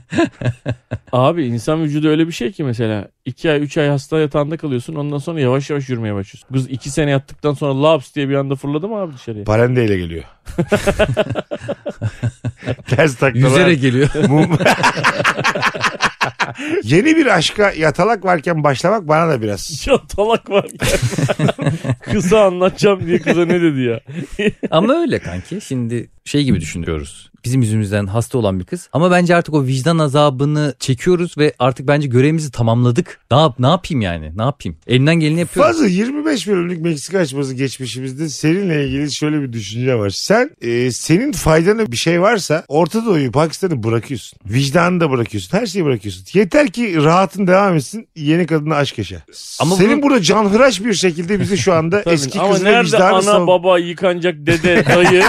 Speaker 2: [LAUGHS] Abi insan vücudu öyle bir şey ki mesela 2 ay 3 ay hasta yatağında kalıyorsun ondan sonra yavaş yavaş yürümeye başlıyorsun. Kız 2 sene yattıktan sonra laps diye bir anda fırladı mı abi dışarıya?
Speaker 1: Parendeyle
Speaker 3: [LAUGHS]
Speaker 1: geliyor. Ters taklalar.
Speaker 3: Yüzerek geliyor.
Speaker 1: Mum- [LAUGHS] Yeni bir aşka yatalak varken başlamak bana da biraz.
Speaker 2: [LAUGHS] Ya talak var ya. [LAUGHS] kısa anlatacağım diye kıza ne dedi ya?
Speaker 3: Ama öyle kanki. Şimdi şey gibi düşünüyoruz. Bizim yüzümüzden hasta olan bir kız. Ama bence artık o vicdan azabını çekiyoruz ve artık bence görevimizi tamamladık. Ne yap ne yapayım yani? Ne yapayım? Elinden geleni yapıyoruz.
Speaker 1: Fazla 25 bölümlük Meksika açması geçmişimizde seninle ilgili şöyle bir düşünce var. Sen e, senin faydana bir şey varsa Orta Doğu'yu Pakistan'ı bırakıyorsun. Vicdanını da bırakıyorsun. Her şeyi bırakıyorsun. Yeter ki rahatın devam etsin. Yeni kadına aşk yaşa.
Speaker 3: Ama
Speaker 1: senin
Speaker 3: bunu-
Speaker 1: burada canhıraş bir şekilde bizi şu
Speaker 3: [LAUGHS]
Speaker 1: anda
Speaker 2: Tabii.
Speaker 1: eski
Speaker 2: Ama
Speaker 1: kız ve
Speaker 2: nerede
Speaker 1: vicdanı
Speaker 2: ana
Speaker 1: savun-
Speaker 2: baba yıkanacak
Speaker 1: [LAUGHS]
Speaker 2: dede dayı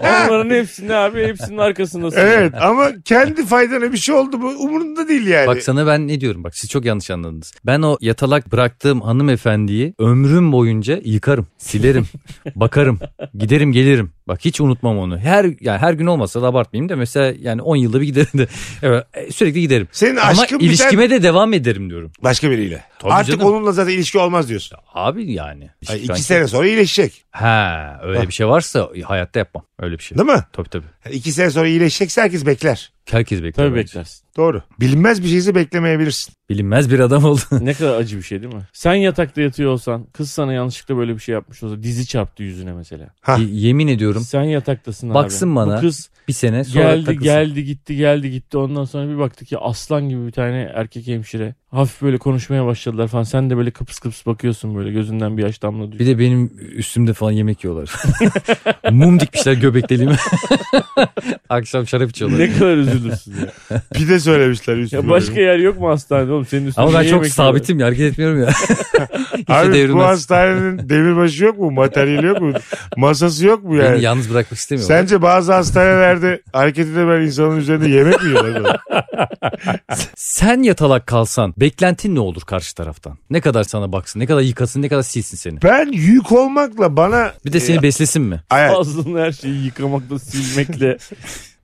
Speaker 2: onların hepsini abi hepsinin arkasındasın.
Speaker 1: Evet ama kendi faydana bir şey oldu mu umurunda değil yani.
Speaker 3: Bak sana ben ne diyorum bak siz çok yanlış anladınız. Ben o yatalak bıraktığım hanımefendiyi ömrüm boyunca yıkarım,
Speaker 1: [LAUGHS]
Speaker 3: silerim, bakarım, giderim gelirim. Bak hiç unutmam onu. Her yani her gün olmasa da abartmayayım da mesela yani 10 yılda bir giderim de evet, e, sürekli giderim.
Speaker 1: Senin
Speaker 3: Ama
Speaker 1: aşkın biter
Speaker 3: ilişkime de devam ederim diyorum.
Speaker 1: başka biriyle.
Speaker 3: Tabii
Speaker 1: Artık
Speaker 3: canım.
Speaker 1: onunla zaten ilişki olmaz diyorsun.
Speaker 3: Abi yani. şey
Speaker 1: Ay, iki
Speaker 3: Sanki-
Speaker 1: sene sonra iyileşecek.
Speaker 3: Ha öyle bir şey varsa hayatta yapmam. Öyle bir şey.
Speaker 1: Değil mi?
Speaker 3: Tabii tabii.
Speaker 1: İki sene sonra iyileşecekse herkes bekler.
Speaker 3: Herkes bekler.
Speaker 2: Tabii
Speaker 3: bence.
Speaker 2: beklersin.
Speaker 1: Doğru. Bilinmez bir şeyse beklemeyebilirsin.
Speaker 3: Bilinmez bir adam oldu.
Speaker 2: Ne kadar acı bir şey değil mi? Sen yatakta yatıyor olsan kız sana yanlışlıkla böyle bir şey yapmış olsa dizi çarptı yüzüne mesela.
Speaker 1: Ha.
Speaker 3: Y- Yemin ediyorum
Speaker 2: Sen yataktasın abi.
Speaker 3: Baksın bana.
Speaker 2: Bu kız
Speaker 3: bir sene sonra
Speaker 2: geldi
Speaker 3: takılsın.
Speaker 2: geldi gitti geldi gitti ondan sonra bir baktı ki aslan gibi bir tane erkek hemşire. Hafif böyle konuşmaya başladılar falan. Sen de böyle kıpıs kıpıs bakıyorsun böyle gözünden bir yaş damla
Speaker 3: Bir
Speaker 2: düşüyor.
Speaker 3: de benim üstümde falan yemek yiyorlar. [LAUGHS] Mum dikmişler göbekliliğime. [LAUGHS] Akşam şarap içiyorlar.
Speaker 2: Ne kadar üzülürsün ya.
Speaker 1: Pide söylemişler üstüne.
Speaker 2: ya. Başka yer yok mu hastanede oğlum senin üstüne
Speaker 3: Ama ben
Speaker 2: niye
Speaker 3: çok
Speaker 2: yemek yiyorlar?
Speaker 3: sabitim ya hareket etmiyorum
Speaker 1: [LAUGHS]
Speaker 3: ya. Hiç de
Speaker 1: Abi bu
Speaker 3: şey devrilmez.
Speaker 1: hastanenin demirbaşı yok mu? Materyali yok mu? Masası yok mu
Speaker 3: Beni
Speaker 1: yani?
Speaker 3: yalnız bırakmak istemiyorum.
Speaker 1: Sence bazı hastanelerde hareket edemez insanın üzerinde yemek mi yiyorlar?
Speaker 3: [LAUGHS]
Speaker 1: böyle?
Speaker 3: Sen yatalak kalsan beklentin ne olur karşı taraftan? Ne kadar sana baksın, ne kadar yıkasın, ne kadar silsin seni.
Speaker 1: ben yük olmakla bana...
Speaker 3: Bir de seni beslesin mi?
Speaker 1: Ay-
Speaker 2: Ağzının her şeyi
Speaker 1: [LAUGHS]
Speaker 2: yıkamakla silmekle.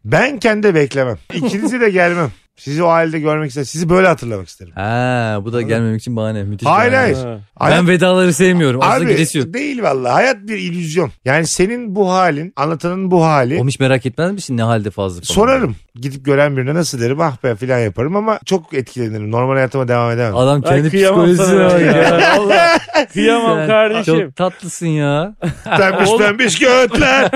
Speaker 1: ben kendi beklemem. İkinizi de gelmem. Sizi o halde görmek isterim. Sizi böyle hatırlamak isterim.
Speaker 3: Ha, bu da gelmemek için bahane. Müthiş
Speaker 1: Hayır,
Speaker 3: bahane.
Speaker 1: hayır.
Speaker 2: Ha.
Speaker 1: Hayat-
Speaker 3: Ben vedaları sevmiyorum. Aslında
Speaker 1: Abi
Speaker 3: gidesi yok.
Speaker 1: değil vallahi hayat bir illüzyon. Yani senin bu halin, anlatanın bu hali.
Speaker 3: Oğlum hiç merak etmez misin ne halde fazla falan?
Speaker 1: e- Sorarım. Gidip gören birine nasıl derim ah be filan yaparım ama çok etkilenirim. Normal hayatıma devam edemem.
Speaker 3: Adam
Speaker 2: Ay,
Speaker 3: kendi
Speaker 2: kıyamam
Speaker 3: psikolojisine
Speaker 2: sana.
Speaker 3: bak ya.
Speaker 2: [LAUGHS] ya. Vallahi
Speaker 3: Sen
Speaker 2: kıyamam kardeşim.
Speaker 3: Çok tatlısın ya.
Speaker 1: Pembiş pembiş göğütler. [LAUGHS]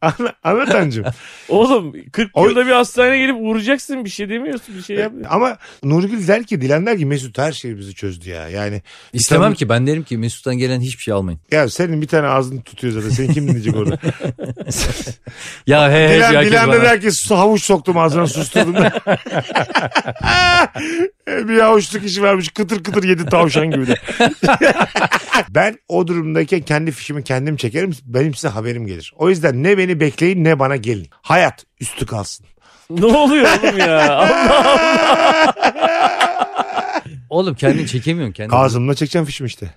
Speaker 1: Anla- Anlatancım.
Speaker 2: Oğlum 40
Speaker 1: Oy. E,
Speaker 2: yılda bir hastaneye gelip vuracaksın bir şey demiyorsun bir şey yapmıyorsun.
Speaker 1: Ama Nurgül der ki Dilan der ki Mesut her şeyi bizi çözdü ya. Yani
Speaker 3: İstemem
Speaker 1: Tamam.
Speaker 3: ki ben derim ki Mesut'tan gelen hiçbir şey almayın.
Speaker 1: ya senin bir tane ağzını tutuyor zaten. Seni kim dinleyecek orada?
Speaker 3: Ya he he diyor
Speaker 1: Dilan,
Speaker 3: herkes
Speaker 1: Dilan da
Speaker 3: bana.
Speaker 1: der ki "Su- havuç soktum ağzına susturdum. [LAUGHS] bir havuçluk işi vermiş kıtır kıtır yedi tavşan gibi
Speaker 3: [LAUGHS]
Speaker 1: de. ben o durumdayken kendi fişimi kendim çekerim benim size haberim gelir. O yüzden ne beni bekleyin ne bana gelin. Hayat üstü kalsın.
Speaker 2: Ne oluyor
Speaker 1: [LAUGHS]
Speaker 2: oğlum ya? Allah
Speaker 3: Oğlum kendini çekemiyorsun kendini.
Speaker 1: Ağzımla çekeceğim fişimi
Speaker 3: [LAUGHS]
Speaker 1: işte.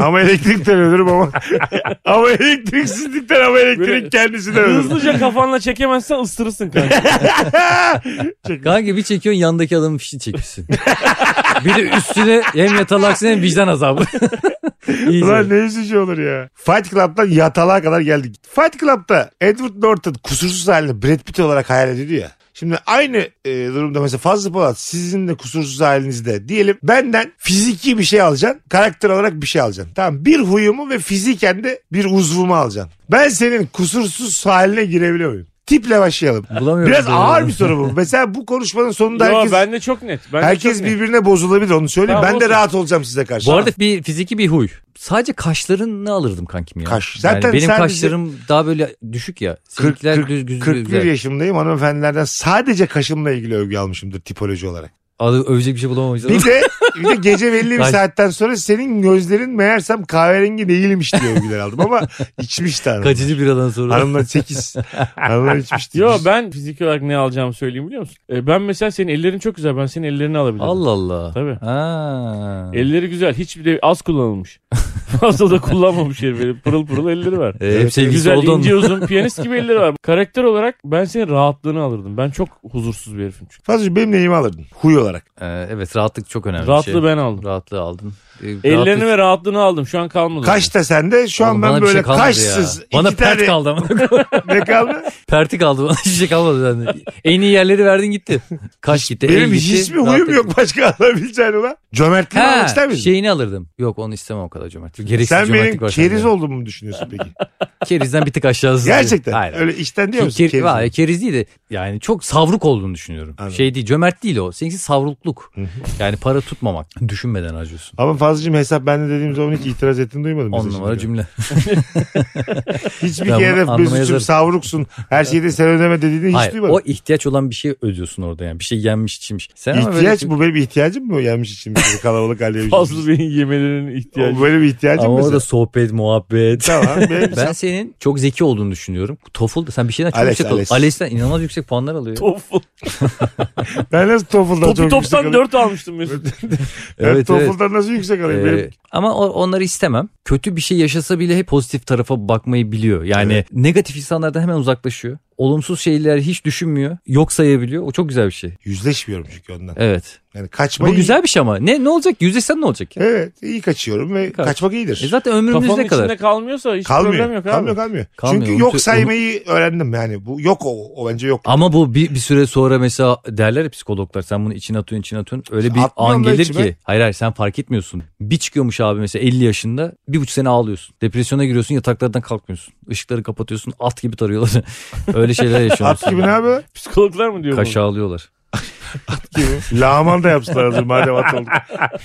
Speaker 1: ama elektrikten ölürüm ama. [LAUGHS] ama elektriksizlikten ama elektrik
Speaker 2: Böyle
Speaker 1: kendisinden ölürüm.
Speaker 2: hızlıca kafanla çekemezsen
Speaker 1: [LAUGHS]
Speaker 2: ıstırırsın kanka.
Speaker 3: Kanka bir çekiyorsun yandaki adamın fişini çekmişsin. [LAUGHS] bir de üstüne hem yatalaksın hem vicdan azabı. [LAUGHS] İyice.
Speaker 1: Ulan ne üzücü olur ya. Fight Club'dan yatalığa kadar geldik. Fight Club'da Edward Norton kusursuz halini Brad Pitt olarak hayal ediyor ya. Şimdi aynı e, durumda mesela Fazlı Polat sizin de kusursuz halinizde diyelim benden fiziki bir şey alacaksın. Karakter olarak bir şey alacaksın. Tamam bir huyumu ve fiziken de bir uzvumu alacaksın. Ben senin kusursuz haline girebiliyor muyum? tiple başlayalım.
Speaker 3: Bulamıyorum.
Speaker 1: Biraz
Speaker 3: böyle.
Speaker 1: ağır bir soru bu. Mesela bu konuşmanın sonunda
Speaker 2: Yo,
Speaker 1: herkes
Speaker 2: ben de çok net. Ben de
Speaker 1: herkes
Speaker 2: çok net.
Speaker 1: birbirine bozulabilir onu söyleyeyim.
Speaker 2: Tamam,
Speaker 1: ben de
Speaker 2: olsun.
Speaker 1: rahat olacağım size karşı.
Speaker 3: Bu arada bir fiziki bir huy. Sadece kaşlarını alırım kankim ya.
Speaker 1: Kaş.
Speaker 3: Yani
Speaker 1: Zaten
Speaker 3: benim
Speaker 1: sadece-
Speaker 3: kaşlarım daha böyle düşük ya. Seninkiler
Speaker 1: kırk-
Speaker 3: düz düz
Speaker 1: 41
Speaker 3: güzel.
Speaker 1: yaşımdayım hanımefendilerden sadece kaşımla ilgili övgü almışımdır tipoloji olarak.
Speaker 3: Adı övecek bir şey bulamamışlar.
Speaker 1: Bir de, bir de gece belli bir
Speaker 3: Kaş-
Speaker 1: saatten sonra senin gözlerin meğersem kahverengi değilmiş diye övgüler aldım
Speaker 3: [LAUGHS]
Speaker 1: ama içmiş de hanım.
Speaker 3: Kaçıncı biradan sonra?
Speaker 1: Hanımlar 8. Hanımlar içmişti.
Speaker 2: Yo ben fiziki olarak ne alacağımı söyleyeyim biliyor musun? E, ben mesela senin ellerin çok güzel. Ben senin ellerini alabilirim.
Speaker 3: Allah Allah.
Speaker 2: Tabii.
Speaker 3: Ha.
Speaker 2: Elleri güzel. Hiçbir de az kullanılmış. Fazla da kullanmamış herif. Böyle Pırıl pırıl elleri var.
Speaker 3: E, hep sevgilisi
Speaker 2: Güzel
Speaker 3: oldu onun.
Speaker 2: ince uzun piyanist gibi elleri var. Karakter olarak ben senin rahatlığını alırdım. Ben çok huzursuz bir herifim çünkü.
Speaker 1: Fazla benim neyimi alırdın? Huy olarak.
Speaker 3: Ee, evet rahatlık çok önemli
Speaker 2: Rahatlığı
Speaker 3: bir şey.
Speaker 2: ben aldım.
Speaker 3: Rahatlığı aldın. Ee,
Speaker 2: Ellerini
Speaker 3: rahatlık-
Speaker 2: ve rahatlığını aldım. Şu an kalmadı.
Speaker 1: Kaş da sende. Şu
Speaker 3: Oğlum,
Speaker 1: an
Speaker 3: bana
Speaker 1: ben
Speaker 3: bir şey
Speaker 1: böyle
Speaker 3: kalmadı ya.
Speaker 1: kaşsız. iki
Speaker 3: Bana
Speaker 1: [LAUGHS]
Speaker 3: pert
Speaker 1: tane-
Speaker 3: kaldı ama. [LAUGHS]
Speaker 1: Ne kaldı?
Speaker 3: Perti kaldı bana. [LAUGHS] Hiçbir şey kalmadı yani. En iyi yerleri verdin gitti. Kaş gitti. el
Speaker 1: Benim
Speaker 3: gitti,
Speaker 1: hiçbir
Speaker 3: rahatlık
Speaker 1: huyum
Speaker 3: gitti.
Speaker 1: yok başka alabileceğin ulan. Cömertliğimi almak ister
Speaker 3: Ha,
Speaker 1: miydin?
Speaker 3: şeyini alırdım. Yok onu istemem o kadar cömertlik. Gereksiz
Speaker 1: Sen
Speaker 3: cömertlik
Speaker 1: benim
Speaker 3: var
Speaker 1: keriz
Speaker 3: sende.
Speaker 1: olduğumu mu düşünüyorsun peki?
Speaker 3: [LAUGHS] Kerizden bir tık aşağısın.
Speaker 1: Gerçekten.
Speaker 3: Hayır.
Speaker 1: Öyle içten diyor
Speaker 3: Ke-
Speaker 1: musun?
Speaker 3: Keriz,
Speaker 1: Keriz
Speaker 3: Hayır, keriz değil de yani çok savruk olduğunu düşünüyorum.
Speaker 1: Anladım.
Speaker 3: Şey değil cömert değil o. Seninki savrukluk.
Speaker 1: Hı hı.
Speaker 3: yani para tutmamak. Düşünmeden harcıyorsun.
Speaker 1: Ama fazlacığım hesap bende dediğim zaman hiç itiraz ettiğini duymadım.
Speaker 3: On
Speaker 1: mesela
Speaker 3: numara
Speaker 1: şimdi.
Speaker 3: cümle.
Speaker 1: Hiçbir
Speaker 3: Ben bunu
Speaker 1: kere
Speaker 3: anlamaya
Speaker 1: Mesut'cum
Speaker 3: yazarım.
Speaker 1: savruksun. Her şeyi de sen ödeme dediğini hiç
Speaker 3: Hayır
Speaker 1: duymadım.
Speaker 3: o ihtiyaç olan bir şey ödüyorsun orada yani. Bir şey yenmiş içmiş. Sen ama böyle
Speaker 1: İhtiyaç
Speaker 3: bir-
Speaker 1: bu benim ihtiyacım mı gelmiş için
Speaker 3: [LAUGHS]
Speaker 1: bu kalabalık halde?
Speaker 2: Fazla benim yemelerinin ihtiyacı.
Speaker 1: O Böyle bir ihtiyacım
Speaker 3: Ama
Speaker 1: mı?
Speaker 3: orada
Speaker 1: sen?
Speaker 3: sohbet, muhabbet.
Speaker 1: Tamam. Benim
Speaker 3: [LAUGHS] Ben senin çok zeki olduğunu düşünüyorum. TOEFL sen bir şeyden çok
Speaker 1: Alex,
Speaker 3: yüksek
Speaker 1: Alex.
Speaker 3: alıyorsun. Alex'ten inanılmaz yüksek puanlar alıyor.
Speaker 2: Tofu.
Speaker 1: Ben nasıl TOEFL'dan
Speaker 2: Topu
Speaker 1: çok yüksek
Speaker 2: toptan
Speaker 1: alayım?
Speaker 2: 4 almıştım Mesut.
Speaker 1: Evet, TOEFL'dan nasıl yüksek alayım? Benim
Speaker 3: Ee, ama o- onları istemem. Kötü bir şey yaşasa bile hep pozitif tarafa bakmayı biliyor. Yani
Speaker 1: Evet.
Speaker 3: negatif insanlardan hemen uzaklaşıyor. Olumsuz şeyler hiç düşünmüyor. Yok sayabiliyor. O çok güzel bir şey.
Speaker 1: yüzleşmiyorum çünkü ondan.
Speaker 3: Evet.
Speaker 1: Yani
Speaker 3: Bu
Speaker 1: kaçmayı...
Speaker 3: güzel bir şey ama. Ne ne olacak? Yüzleşsen ne olacak ya?
Speaker 1: Evet iyi kaçıyorum ve
Speaker 3: Kaç.
Speaker 1: kaçmak iyidir.
Speaker 3: E zaten ömrümüz
Speaker 2: Kafanın
Speaker 3: ne kadar?
Speaker 2: içinde kalmıyorsa hiç
Speaker 1: kalmıyor.
Speaker 2: problem yok abi.
Speaker 1: kalmıyor kalmıyor.
Speaker 3: Kalmıyor,
Speaker 1: Çünkü
Speaker 3: onu
Speaker 1: yok
Speaker 3: sö-
Speaker 1: saymayı öğrendim yani. Bu yok o, o bence yok.
Speaker 3: Ama bu bir, bir süre sonra mesela derler ya psikologlar sen bunu içine atıyorsun içine atıyorsun. Öyle bir
Speaker 1: Atmıyorum
Speaker 3: an
Speaker 1: da
Speaker 3: gelir
Speaker 1: içime.
Speaker 3: ki. Hayır hayır sen fark etmiyorsun. Bir çıkıyormuş abi mesela 50 yaşında bir buçuk sene ağlıyorsun. Depresyona giriyorsun yataklardan kalkmıyorsun. Işıkları kapatıyorsun at gibi tarıyorlar. [LAUGHS] Öyle şeyler yaşıyorsun.
Speaker 1: At gibi ne abi?
Speaker 2: Psikologlar mı diyor
Speaker 3: Kaş ağlıyorlar.
Speaker 1: Laman da yapsınlar hazır madem at oldu.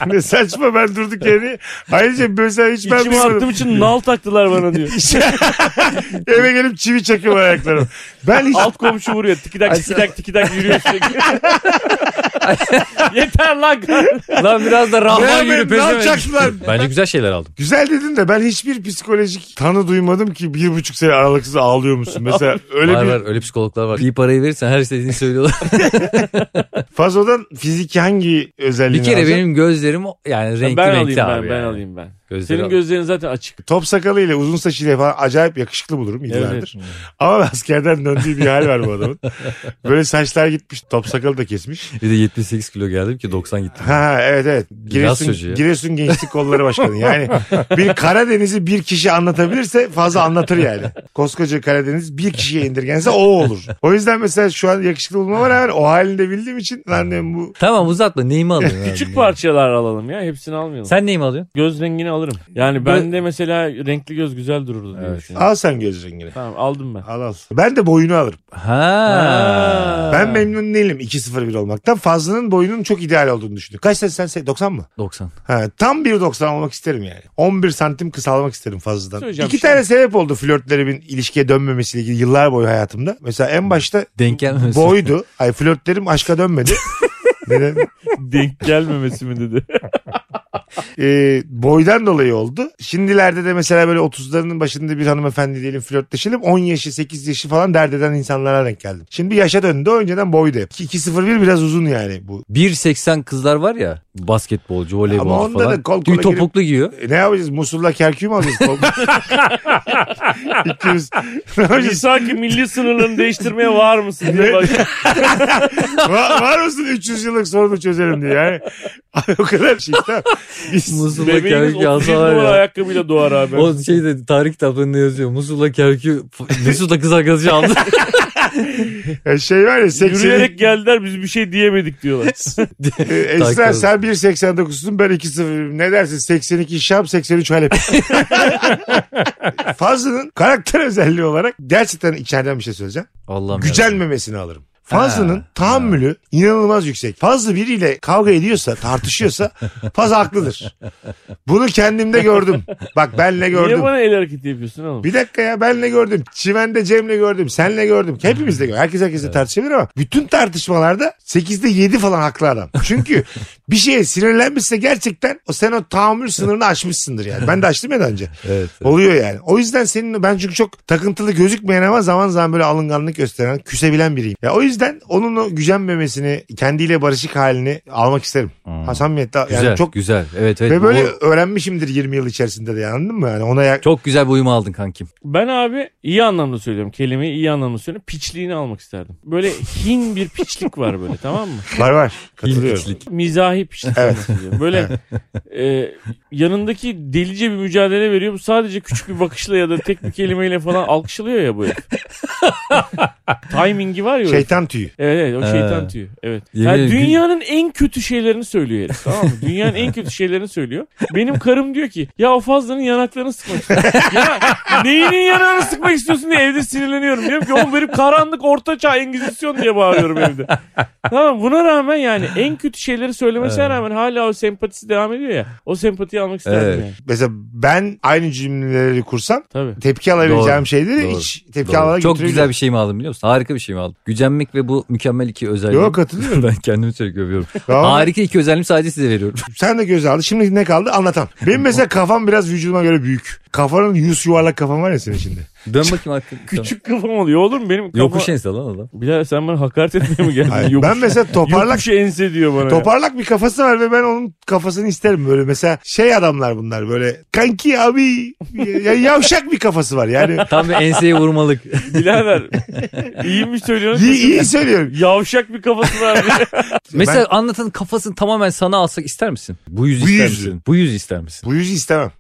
Speaker 1: ne saçma ben durduk yeri. Ayrıca mesela hiç
Speaker 2: bunu?
Speaker 1: ben
Speaker 2: İçime
Speaker 1: bilmiyorum.
Speaker 2: attığım için nal taktılar bana diyor.
Speaker 1: [LAUGHS] Eve gelip çivi çekiyor ayaklarım. Ben hiç
Speaker 2: [LAUGHS] Alt komşu vuruyor. Tikidak tikidak tikidak yürüyor
Speaker 3: [LAUGHS]
Speaker 2: sürekli. Yeter lan.
Speaker 3: Lan biraz da rahman
Speaker 1: Beğenmedim,
Speaker 3: yürü
Speaker 1: ne
Speaker 3: pezevenk.
Speaker 1: yapacaksın
Speaker 3: Bence güzel şeyler aldım.
Speaker 1: güzel dedin de ben hiçbir psikolojik tanı duymadım ki bir buçuk sene aralıksız ağlıyor musun? Mesela öyle
Speaker 3: var
Speaker 1: bir
Speaker 3: var öyle psikologlar var. İyi parayı verirsen her istediğini söylüyorlar.
Speaker 1: fazodan fiziki hangi özelliğini
Speaker 3: bir kere
Speaker 1: alacaksın?
Speaker 3: benim gözlerim yani renkli
Speaker 2: ben alayım
Speaker 3: renkli abi.
Speaker 2: ben, ben
Speaker 3: yani.
Speaker 2: alayım ben.
Speaker 3: Gözleri
Speaker 2: Senin
Speaker 3: al.
Speaker 2: gözlerin zaten açık.
Speaker 1: Top sakalıyla uzun saçıyla falan acayip yakışıklı bulurum yıllardır. Ama askerden döndüğü bir hal var bu adamın. Böyle saçlar gitmiş top sakalı da kesmiş.
Speaker 3: Bir de 78 kilo geldim ki 90 gittim.
Speaker 1: Ha evet evet.
Speaker 3: Yaz
Speaker 1: Giresun,
Speaker 3: çocuğu ya.
Speaker 1: Giresun Gençlik Kolları Başkanı. Yani bir Karadeniz'i bir kişi anlatabilirse fazla anlatır yani. Koskoca Karadeniz bir kişiye indirgense o olur. O yüzden mesela şu an yakışıklı olmama rağmen o halini de bildiğim için lan diyorum bu
Speaker 3: Tamam uzatma neyimi
Speaker 1: [LAUGHS]
Speaker 3: alıyorsun? abi?
Speaker 2: Küçük parçalar alalım ya. Hepsini almayalım.
Speaker 3: Sen neyimi alıyorsun?
Speaker 2: Göz rengini alırım. Yani ben de mesela renkli göz güzel dururdu diye
Speaker 3: Evet.
Speaker 2: düşünüyorum.
Speaker 1: al sen göz rengini.
Speaker 2: Tamam aldım ben. [LAUGHS]
Speaker 1: Al al. Ben de boyunu alırım.
Speaker 3: Ha.
Speaker 1: Ben memnun değilim 2.01 olmaktan. Fazlının boyunun çok ideal olduğunu düşünüyorum. Kaç sen sen 90 mı?
Speaker 3: 90.
Speaker 1: Ha, tam 1.90 olmak isterim yani. 11 santim kısalmak isterim fazladan.
Speaker 2: Söyleyeceğim
Speaker 1: İki
Speaker 2: şey-
Speaker 1: tane sebep oldu flörtlerimin ilişkiye dönmemesiyle ilgili yıllar boyu hayatımda. Mesela en başta
Speaker 3: Denk gelmemiş.
Speaker 1: boydu. Ay flörtlerim aşka dönmedi. Neden?
Speaker 2: Denk gelmemesi mi dedi.
Speaker 1: Ee, boydan dolayı oldu. Şimdilerde de mesela böyle 30'larının başında bir hanımefendi diyelim flörtleşelim. 10 yaşı 8 yaşı falan dert eden insanlara denk geldim. Şimdi yaşa döndü. O önceden boydu hep. 2.01 biraz uzun yani bu.
Speaker 3: 1.80 kızlar var ya basketbolcu,
Speaker 1: Ama
Speaker 3: voleybol
Speaker 1: onda
Speaker 3: falan.
Speaker 1: da kol kola
Speaker 3: Tüy
Speaker 1: girip-
Speaker 3: topuklu giyiyor.
Speaker 1: E, ne yapacağız? Musul'la Kerkü'yü mü alacağız? [LAUGHS] İkimiz. Ne
Speaker 2: Bir
Speaker 1: yapacağız?
Speaker 2: Hani sanki milli sınırlarını değiştirmeye var mısın diye bak.
Speaker 1: var, var mısın 300 yıllık sorunu çözelim diye yani. [LAUGHS] o kadar şey tamam. Biz,
Speaker 3: Musul'a
Speaker 2: Bebeğiniz
Speaker 3: kerkü
Speaker 2: 31
Speaker 3: yazsalar
Speaker 2: numara
Speaker 3: ya. şey
Speaker 2: ayakkabıyla doğar abi.
Speaker 3: O şeyde tarih kitaplarında yazıyor. Musul'a kerkü Mesut'la kız arkadaşı aldı.
Speaker 1: Ya şey var ya 80'in
Speaker 2: Yürüyerek geldiler biz bir şey diyemedik
Speaker 3: [LAUGHS]
Speaker 2: diyorlar.
Speaker 1: E, Esra
Speaker 3: Takdir.
Speaker 1: sen 1.89'sun ben 2.0'ım. Ne dersin 82 Şam 83 Halep. [LAUGHS] Fazlı'nın karakter özelliği olarak gerçekten içeriden bir şey söyleyeceğim.
Speaker 3: [LAUGHS] Allah'ım yarabbim.
Speaker 1: Gücenmemesini alırım. Fazlı'nın
Speaker 3: Ha,
Speaker 1: tahammülü inanılmaz yüksek. Fazlı biriyle kavga ediyorsa, tartışıyorsa Fazlı haklıdır. Bunu kendimde gördüm. Bak benle gördüm.
Speaker 2: Niye bana el hareketi yapıyorsun oğlum?
Speaker 1: Bir dakika ya benle gördüm. Çimen'de Cem'le gördüm. Senle gördüm. Hepimizle gördüm. Herkes herkesle tartışabilir ama bütün tartışmalarda 8'de 7 falan haklı adam.
Speaker 3: [LAUGHS]
Speaker 1: Çünkü bir şeye sinirlenmişse gerçekten o sen o tahammül sınırını aşmışsındır yani. Ben de aştım ya daha önce.
Speaker 3: Evet. evet.
Speaker 1: Oluyor yani. O yüzden senin ben çünkü çok takıntılı gözükmeyen ama zaman zaman böyle alınganlık gösteren, küsebilen biriyim. Ya o yüzden onun o gücenmemesini, kendiyle barışık halini almak isterim.
Speaker 3: Hmm.
Speaker 1: Ha samimiyetle yani
Speaker 3: Güzel,
Speaker 1: çok
Speaker 3: güzel. Evet, evet.
Speaker 1: ve böyle
Speaker 3: Bu-
Speaker 1: öğrenmişimdir 20 yıl içerisinde de yani, anladın mı? Yani ona yak-
Speaker 3: çok güzel bir uyum aldın kankim.
Speaker 2: Ben abi iyi anlamda söylüyorum. Kelimeyi iyi anlamda söylüyorum. Piçliğini almak isterdim. Böyle hin bir piçlik var böyle tamam mı?
Speaker 1: var var. Katılıyorum.
Speaker 3: Hiçlik.
Speaker 2: Mizahi piçlik
Speaker 1: Evet.
Speaker 2: olması diyor. Böyle e, yanındaki delice bir mücadele veriyor. Bu sadece küçük bir bakışla ya da tek bir kelimeyle falan alkışlıyor ya bu herif. Timingi var ya. o herifin.
Speaker 1: Şeytan tüyü.
Speaker 2: Evet, evet o şeytan
Speaker 3: Ee,
Speaker 2: tüyü. Evet.
Speaker 3: yemin
Speaker 2: Yani
Speaker 3: ederim gün-
Speaker 2: dünyanın en kötü şeylerini söylüyor herif tamam
Speaker 3: [LAUGHS]
Speaker 2: mı? Dünyanın en kötü şeylerini söylüyor. Benim karım diyor ki ya o fazlanın yanaklarını sıkmak istiyorsun. ya neyinin yanağını sıkmak istiyorsun diye evde sinirleniyorum. Diyorum ki oğlum benim karanlık ortaçağ engizisyon diye bağırıyorum evde. tamam buna rağmen yani en kötü şeyleri söylemesine rağmen hala o sempatisi devam ediyor ya. O sempatiyi almak isterdim
Speaker 3: Evet.
Speaker 2: yani.
Speaker 1: Mesela ben aynı cümleleri kursam
Speaker 2: Tabii.
Speaker 1: tepki alabileceğim
Speaker 3: Doğru,
Speaker 1: şeyleri
Speaker 3: doğru,
Speaker 1: hiç tepki
Speaker 3: Doğru.
Speaker 1: alarak
Speaker 3: Çok güzel bir şey mi aldım biliyor musun? Harika bir şey mi aldım? Gücenmek ve bu mükemmel iki özellik.
Speaker 1: Yok katılıyorum.
Speaker 3: [LAUGHS] ben kendimi çok övüyorum.
Speaker 1: Tamam.
Speaker 3: Harika iki özelliğimi sadece size veriyorum.
Speaker 1: Sen de göz aldı. Şimdi ne kaldı? Anlatan. Benim mesela
Speaker 3: [LAUGHS]
Speaker 1: kafam biraz vücuduma göre büyük. Kafanın yüz yuvarlak kafan var ya senin
Speaker 3: [LAUGHS]
Speaker 1: şimdi.
Speaker 3: Dön bakayım arkadaşlar. [LAUGHS]
Speaker 2: Küçük kafam oluyor olur mu benim kafa...
Speaker 3: Yokuş ense lan adam.
Speaker 2: Bilal sen bana hakaret etmeye mi geldin?
Speaker 1: Hayır,
Speaker 2: Yokuş-
Speaker 1: ben mesela toparlak
Speaker 2: Yokuş ense diyor bana. ya.
Speaker 1: toparlak bir kafası var ve ben onun kafasını isterim böyle. Mesela şey adamlar bunlar böyle kanki abi ya- yavşak bir kafası var yani.
Speaker 3: [LAUGHS] Tam bir enseye vurmalık.
Speaker 2: Birader
Speaker 3: [LAUGHS]
Speaker 2: iyi mi söylüyorsun?
Speaker 1: iyi, iyi söylüyorum.
Speaker 2: Yavşak bir kafası var.
Speaker 3: [LAUGHS] Mesela anlatanın kafasını tamamen sana alsak ister misin? Bu yüz
Speaker 1: Bu
Speaker 3: ister
Speaker 1: yüz.
Speaker 3: misin? Bu yüz ister misin?
Speaker 1: Bu yüzü
Speaker 3: [LAUGHS]
Speaker 1: istemem.